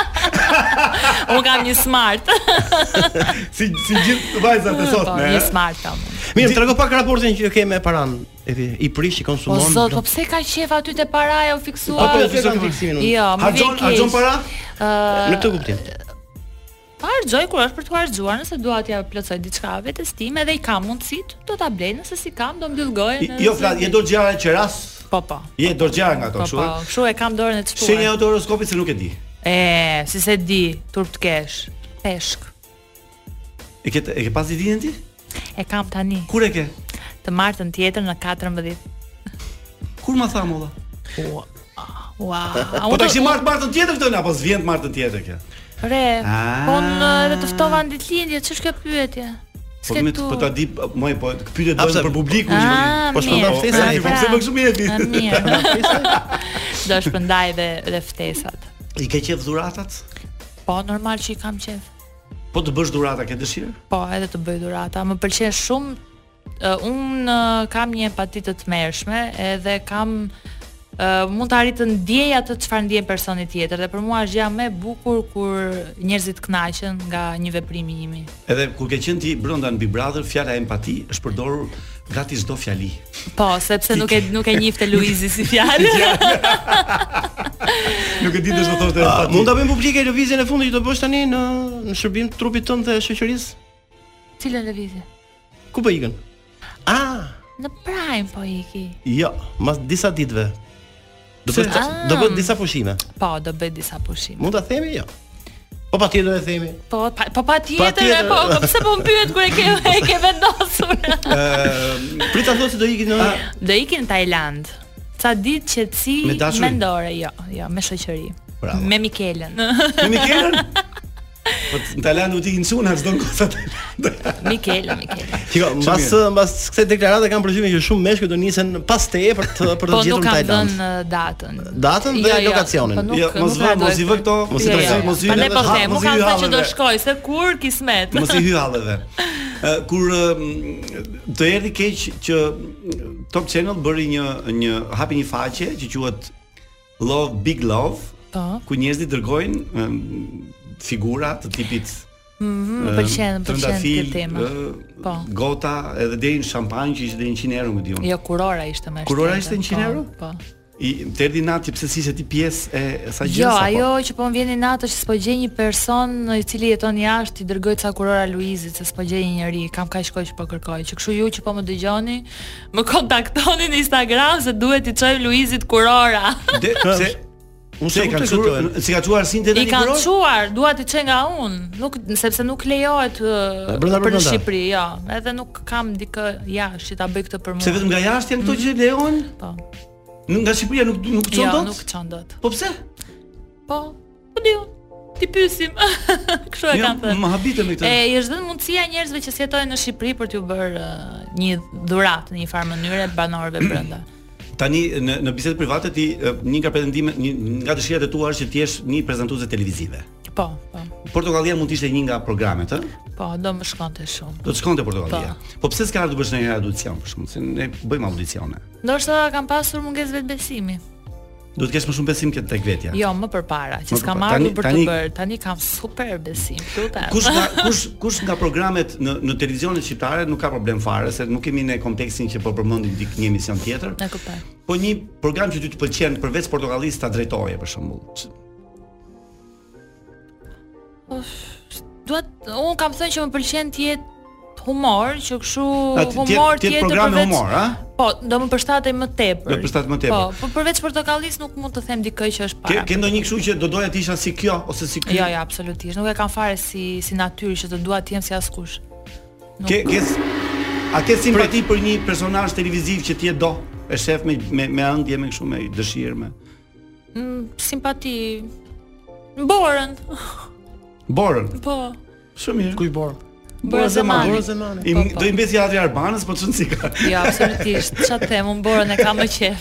Speaker 11: unë kam një smart.
Speaker 6: Si si gjithë vajzat e
Speaker 11: po,
Speaker 6: sotme. eh?
Speaker 11: një
Speaker 6: ë?
Speaker 11: smart kam. unë.
Speaker 7: Mirë, më trego pak raportin që ke me paran. Efi, i prish i
Speaker 11: Po
Speaker 7: konsumon.
Speaker 11: zot, po pse ka qef aty te paraja u fiksuar?
Speaker 7: Apo pse kam fiksimin unë?
Speaker 11: Jo, më vjen
Speaker 6: Harxhon,
Speaker 11: keq.
Speaker 6: harxhon para?
Speaker 7: Në këtë kuptim.
Speaker 11: Pa harxoj kur është për të harxuar, nëse dua t'ja plotësoj diçka vetes time dhe i kam mundësit, do ta blej, nëse si kam do mbyll
Speaker 6: I-
Speaker 11: gojën.
Speaker 6: Jo,
Speaker 11: nëse-
Speaker 6: flas, je dorxhjare qeras?
Speaker 11: Po po.
Speaker 6: Je dorxhjare nga ato,
Speaker 11: Po
Speaker 6: kështu?
Speaker 11: po,
Speaker 6: ë?
Speaker 11: kështu e kam dorën e çtuar.
Speaker 6: Shenja e horoskopit se nuk e di.
Speaker 11: E, si se di, turp të kesh. Peshk.
Speaker 6: E ke e ke pas ditën ti?
Speaker 11: E kam tani.
Speaker 6: Kur e ke?
Speaker 11: Të martën tjetër në 14.
Speaker 6: Kur ma tha molla?
Speaker 11: Ua, a
Speaker 6: Po
Speaker 11: unë
Speaker 6: ta kishim
Speaker 11: të-
Speaker 6: martë martën tjetër këtë apo s'vjen të martën tjetër kjo?
Speaker 11: Re,
Speaker 6: Ah.
Speaker 11: po në edhe të ftova në ditëlindje, ç'është kjo pyetje?
Speaker 6: Po
Speaker 11: S'ke
Speaker 6: me
Speaker 11: tu.
Speaker 6: po ta di moj po pyetet
Speaker 7: Hapse-
Speaker 6: bëhen për publikun që
Speaker 11: Ah,
Speaker 7: Po shpëndon
Speaker 11: mirë,
Speaker 7: ftesa,
Speaker 11: pra,
Speaker 7: i
Speaker 6: po
Speaker 11: pra.
Speaker 6: pse më kështu mirë e di?
Speaker 11: Ah, Mirë. Do shpëndaj dhe dhe ftesat.
Speaker 6: i ke qef dhuratat?
Speaker 11: Po, normal që i kam qef.
Speaker 6: Po të bësh dhurata ke dëshirë?
Speaker 11: Po, edhe të bëj dhurata. Më pëlqen shumë uh, un uh, kam një empati të tmerrshme edhe kam uh, mund të arrit të ndjej atë çfarë ndjen personi tjetër dhe për mua është gjëja më e bukur kur njerëzit kënaqen nga një veprim i imi.
Speaker 6: Edhe kur ke qenë ti brenda në Big Brother, fjala empati është përdorur gati çdo fjali.
Speaker 11: Po, sepse nuk e nuk e njifte Luizi si fjalë.
Speaker 6: Nuk e di dash të thoshte
Speaker 11: Ah,
Speaker 7: A,
Speaker 6: empati.
Speaker 7: Mund ta bëjmë publike lëvizjen e fundit që do bësh tani në në shërbim të trupit tënd dhe shoqërisë?
Speaker 11: Cila lëvizje?
Speaker 7: Ku po ikën? Ah,
Speaker 11: Në Prime po iki.
Speaker 7: jo, mas disa ditëve. Do bësh
Speaker 11: Ah.
Speaker 7: do bësh disa pushime.
Speaker 11: Po, do bëj disa pushime.
Speaker 7: Mund ta themi jo. Po patjetër do e themi.
Speaker 11: Po, pa, po patjetër,
Speaker 7: Patjetër.
Speaker 11: po, po pse po mpyet kur e ke e ke vendosur?
Speaker 7: Prit ta thosë se do ikin në
Speaker 11: Do ikin në Tajland. Ca ditë qetësi
Speaker 6: Me dashurin?
Speaker 11: mendore, jo, jo, me shoqëri.
Speaker 6: Bravo.
Speaker 11: Me Mikelën.
Speaker 6: Me Mikelën? Po t- në Tajland u tikin çuna çdo kohë.
Speaker 11: Mikela, Mikela.
Speaker 7: Shiko, mbas mbas kësaj deklarate kanë përgjithësisht që shumë meshkuj do nisen pas teje për të për të
Speaker 11: Po
Speaker 7: gjetur
Speaker 11: nuk
Speaker 7: në
Speaker 11: kam
Speaker 7: Tajland.
Speaker 11: dhënë uh, datën.
Speaker 7: Datën dhe
Speaker 11: Jo, jo,
Speaker 7: lokacionin.
Speaker 11: po nuk-
Speaker 6: Jo, mos
Speaker 11: nuk
Speaker 6: vë,
Speaker 11: na
Speaker 6: mos i
Speaker 11: duhet.
Speaker 6: vë këto, mos i
Speaker 11: Jo, jo,
Speaker 6: tërsi,
Speaker 11: jo.
Speaker 6: mos i
Speaker 11: Prandaj po
Speaker 6: ha-
Speaker 11: them,
Speaker 6: mos
Speaker 11: nuk
Speaker 6: i
Speaker 11: kam
Speaker 6: hy
Speaker 11: thënë që do
Speaker 6: halleve.
Speaker 11: shkoj, se kur kismet.
Speaker 6: Mos i hy halleve. Ë, Kur ë, m, të erdhi keq që m, Top Channel bëri një një hapi një faqe që quhet Love Big Love,
Speaker 11: Po.
Speaker 6: ku njerëzit dërgojnë ë, figura të tipit
Speaker 11: Mhm, pëlqen, më
Speaker 6: ë,
Speaker 11: pëlqen
Speaker 6: trëndafil,
Speaker 11: këtë temë.
Speaker 6: ë,
Speaker 11: Po.
Speaker 6: Gota edhe deri në shampanjë që ishte deri në 100 euro, më diun.
Speaker 11: Jo kurora ishte më e
Speaker 6: Kurora
Speaker 11: shtrenjtë,
Speaker 6: ishte 100
Speaker 11: po,
Speaker 6: euro?
Speaker 11: Po.
Speaker 6: I të erdhi natë që pse si se ti pjesë e e sa gjësa.
Speaker 11: Jo, ajo që po më vjen në natë është s'po gjej një person i cili jeton jashtë, i dërgoj ca kurora Luizit, se s'po gjej një njerëz, kam kaq kohë që po kërkoj. Që kështu ju që po më dëgjoni, më kontaktoni në Instagram se duhet i çoj Luizit kurora.
Speaker 6: De, pse
Speaker 7: Unë
Speaker 6: se
Speaker 7: se
Speaker 6: ka
Speaker 7: kuptoj
Speaker 6: çuar,
Speaker 7: këtë.
Speaker 6: si ka çuar sin te
Speaker 11: I
Speaker 6: tani
Speaker 11: kanë
Speaker 6: kuror?
Speaker 11: çuar, dua të çoj nga unë, nuk sepse nuk lejohet ë,
Speaker 6: E, brenda,
Speaker 11: për në
Speaker 6: brenda.
Speaker 11: Shqipëri, jo. Edhe nuk kam dikë jashtë që ta bëj këtë për mua.
Speaker 6: Pse vetëm nga jashtë janë këto që lejohen?
Speaker 11: Po.
Speaker 6: Nuk nga Shqipëria nuk nuk çon
Speaker 11: Jo,
Speaker 6: dot?
Speaker 11: nuk çon dot.
Speaker 6: Po pse?
Speaker 11: Po, po di unë. Ti pyesim. Kështu e
Speaker 6: Jo,
Speaker 11: kam thënë.
Speaker 6: më habitëm me këtë.
Speaker 11: E i është dhënë mundësia njerëzve që jetojnë në Shqipëri për t'ju bërë eh, një dhuratë në një farë mënyre banorëve brenda.
Speaker 6: Tani në në bisedë private ti e, një nga pretendimet, një nga dëshirat e tua është që ti jesh një prezantuese televizive.
Speaker 11: Po, po,
Speaker 6: Portokallia mund të ishte një nga programet, ë?
Speaker 11: po, do më shkonte shumë.
Speaker 6: Do të shkonte Portokallia. Po pse s'ka ardhur të bësh ndonjë audicion për shkak se ne bëjmë audicione.
Speaker 11: Ndoshta kam pasur mungesë vetbesimi.
Speaker 6: Do të kesh më shumë besim këtë tek vetja.
Speaker 11: Jo, më përpara,
Speaker 6: Më
Speaker 11: që s'kam
Speaker 6: përpara.
Speaker 11: marrë
Speaker 6: Tani-
Speaker 11: për
Speaker 6: tani-
Speaker 11: të bërë. Tani kam super besim. Tuta.
Speaker 6: Kush nga kush kush nga programet në në televizionin shqiptare nuk ka problem fare se nuk kemi ne kompleksin që po përmendim dik një emision tjetër.
Speaker 11: E kuptoj.
Speaker 6: Po një program që ty të pëlqen përveç portokallis ta drejtoje për shembull. Ç-
Speaker 11: Duat, un kam thënë që më pëlqen të jetë humor, që kështu
Speaker 6: A, ti- ti-
Speaker 11: humor
Speaker 6: ti- ti-
Speaker 11: të jetë
Speaker 6: programe
Speaker 11: përveç-
Speaker 6: humor, a?
Speaker 11: Po, do më përshtatej më tepër.
Speaker 6: Do përshtatet më tepër.
Speaker 11: Po, po përveç portokallis nuk mund të them dikë që është para.
Speaker 6: Ke ke ndonjë kështu që do doja të isha si kjo ose si ky?
Speaker 11: Jo, jo, absolutisht. Nuk e kam fare si si natyrë që të dua të jem si askush. Nuk.
Speaker 6: Ke ke s- a ke simpati për një personazh televiziv që ti e do? E shef me me me ëndje me kështu me dëshirë me.
Speaker 11: Mm, simpati Në Borën.
Speaker 6: Borën.
Speaker 11: Po.
Speaker 6: Shumë mirë.
Speaker 7: Kuj borë?
Speaker 11: Borën Zemani.
Speaker 6: Borën
Speaker 7: Zemani.
Speaker 6: I
Speaker 11: Po, po.
Speaker 6: do i mbesi Adri Arbanës, po çon si ka.
Speaker 11: Jo, absolutisht. Ç'a të them, unë Borën e kam më qef.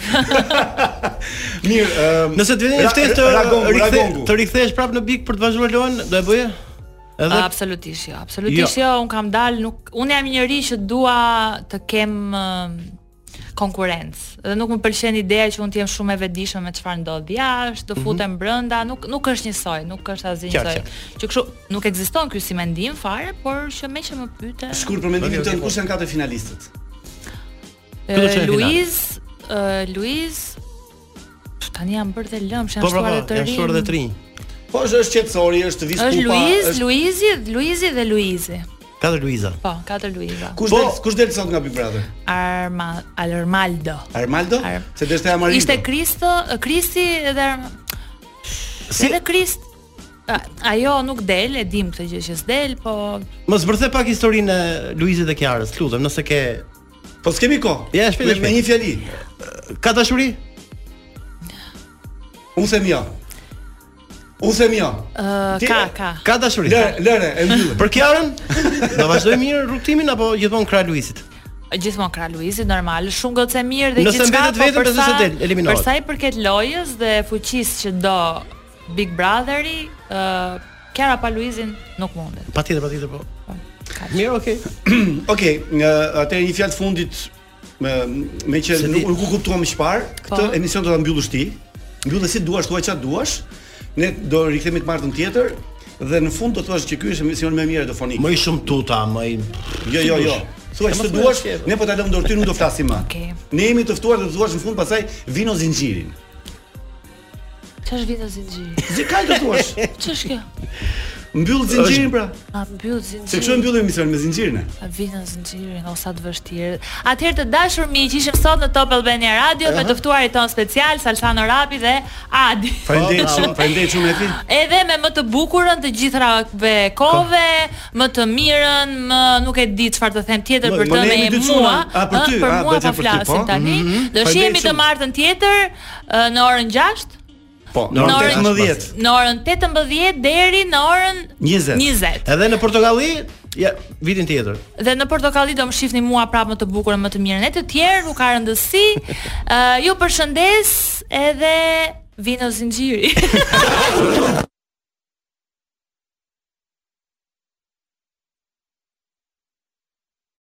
Speaker 6: Mirë, ehm, ëm,
Speaker 7: Nëse të vjen
Speaker 6: Ra-
Speaker 7: një ftesë të
Speaker 6: Ragongu,
Speaker 7: rikthe-
Speaker 6: Ragongu.
Speaker 7: të rikthehesh prapë në Big për të vazhduar lojën, do e bëje? Edhe
Speaker 11: Absolutisht jo. Absolutisht jo, unë kam dalë, nuk unë jam njëri që dua të kem ë, konkurrencë. Dhe nuk më pëlqen ideja që unë të jem shumë e vetëdijshme me çfarë ndodh jashtë, të futem brenda, nuk nuk është njësoj, nuk është asgjë
Speaker 7: Qartë,
Speaker 11: njësoj. Që kështu nuk ekziston ky si mendim fare, por që me që më pyete.
Speaker 6: shkurt për mendimin tënd kush janë katër finalistët?
Speaker 11: E,
Speaker 7: Ky do të qenë
Speaker 11: Luiz, e, Luiz pff, tani jam bërë të lëmsh,
Speaker 7: po
Speaker 11: jam
Speaker 7: bravo,
Speaker 11: shkuar të
Speaker 7: jam shkuar edhe
Speaker 11: rinj.
Speaker 7: të rinj.
Speaker 6: Po është është qetësori, është vis
Speaker 11: Është
Speaker 6: pupa.
Speaker 11: Luiz,
Speaker 6: është-
Speaker 11: Luizi, Luizi dhe Luizi.
Speaker 7: Katër Luiza.
Speaker 11: Po, katër Luiza.
Speaker 6: Kush
Speaker 7: Po.
Speaker 6: del kush del sot nga Big Brother?
Speaker 11: Arma Alormaldo.
Speaker 6: Armaldo?
Speaker 11: Ar-
Speaker 6: Se do të jam Armaldo.
Speaker 11: Ishte Kristo, Kristi dhe Arma-
Speaker 7: Si
Speaker 11: edhe Krist. A- Ajo nuk del, e dim këtë gjë që s'del, po
Speaker 7: mos zbërthe pak historinë e Luizit dhe Kiarës, lutem, nëse ke
Speaker 6: Po s'kemi kohë.
Speaker 7: Ja, shpejt,
Speaker 6: Me-
Speaker 7: shpejt.
Speaker 6: Me një fjali.
Speaker 7: ka dashuri?
Speaker 6: Unë them jo. Unë them jo.
Speaker 11: ë,
Speaker 6: Ti-
Speaker 11: ka ka.
Speaker 7: Ka dashuri.
Speaker 6: Lëre, lëre, e mbyllëm.
Speaker 7: Për Kiarën, do vazhdoj mirë rrugtimin apo gjithmonë krah Luizit?
Speaker 11: Gjithmonë krah Luizit normal, shumë gocë e mirë dhe
Speaker 7: Nëse
Speaker 11: gjithçka. po
Speaker 7: mbetet vetëm,
Speaker 11: për
Speaker 7: pastaj
Speaker 11: sa-
Speaker 7: se del, eliminohet.
Speaker 11: Për sa i përket lojës dhe fuqisë që do Big Brotheri, ë Kjara pa Luizin nuk mundet.
Speaker 7: Patjetër, patjetër po. Mirë, okay.
Speaker 6: Okej, okay, atëherë një fjalë të fundit me me që
Speaker 7: Se
Speaker 6: nuk
Speaker 7: di-
Speaker 6: nuk u kuptuam më parë, këtë
Speaker 11: Po.
Speaker 6: emision do ta mbyllësh ti. Mbyllë si duash, thuaj çfarë duash. Ne do rikthehemi të martën tjetër dhe në fund do të thuash që ky është emisioni më i mirë radiofonik.
Speaker 7: Më i shumë tuta, më i
Speaker 6: Jo, jo, jo. Thuaj
Speaker 7: E mos
Speaker 6: ç'të
Speaker 7: më
Speaker 6: duash,
Speaker 7: shqeve.
Speaker 6: ne po ta lëmë dorë ty, nuk do flasim më.
Speaker 11: Okej.
Speaker 6: Ne jemi të ftuar dhe të thuash në fund pastaj vino zinxhirin.
Speaker 11: Ç'është vita zinxhiri?
Speaker 6: Zi kaj të thuash?
Speaker 11: Ç'është kjo?
Speaker 6: Mbyll zinxhirin pra.
Speaker 11: A mbyll
Speaker 6: Se kështu e
Speaker 11: zinxhirin.
Speaker 6: mbyllim emisionin me zinxhirin. e.
Speaker 11: A vita zinxhirin o sa të vështirë. Atëherë të dashur miq, ishim sot në Top Albania Radio me të ftuarit ton special Salsano Rapi dhe Adi.
Speaker 6: Faleminderit shumë, faleminderit shumë Efi.
Speaker 11: Edhe me më të bukurën të gjithrave kove, më të mirën, më nuk e di çfarë të them tjetër
Speaker 6: Po,
Speaker 11: për
Speaker 6: po
Speaker 11: të
Speaker 6: ne
Speaker 11: me
Speaker 6: jemi dy
Speaker 11: mua,
Speaker 6: çuna. A, për
Speaker 11: ë,
Speaker 6: ty,
Speaker 11: për
Speaker 6: a,
Speaker 11: mua
Speaker 6: bëhet
Speaker 11: po
Speaker 6: e për ty,
Speaker 11: flasim
Speaker 6: po.
Speaker 11: tani.
Speaker 6: Mhm.
Speaker 11: Do
Speaker 6: Faleminderit
Speaker 11: shihemi të
Speaker 6: shumë.
Speaker 11: martën tjetër ë, në orën 6
Speaker 6: Po, në orën 18.
Speaker 11: Në orën 18 deri në orën
Speaker 7: 20.
Speaker 11: 20.
Speaker 7: Edhe në Portokalli, ja, vitin tjetër.
Speaker 11: Dhe në portokalli do më shihni mua prapë më të bukur, më të mirë. Ne të tjerë u ka rëndësi. Ë ju përshëndes edhe vino zinxhiri.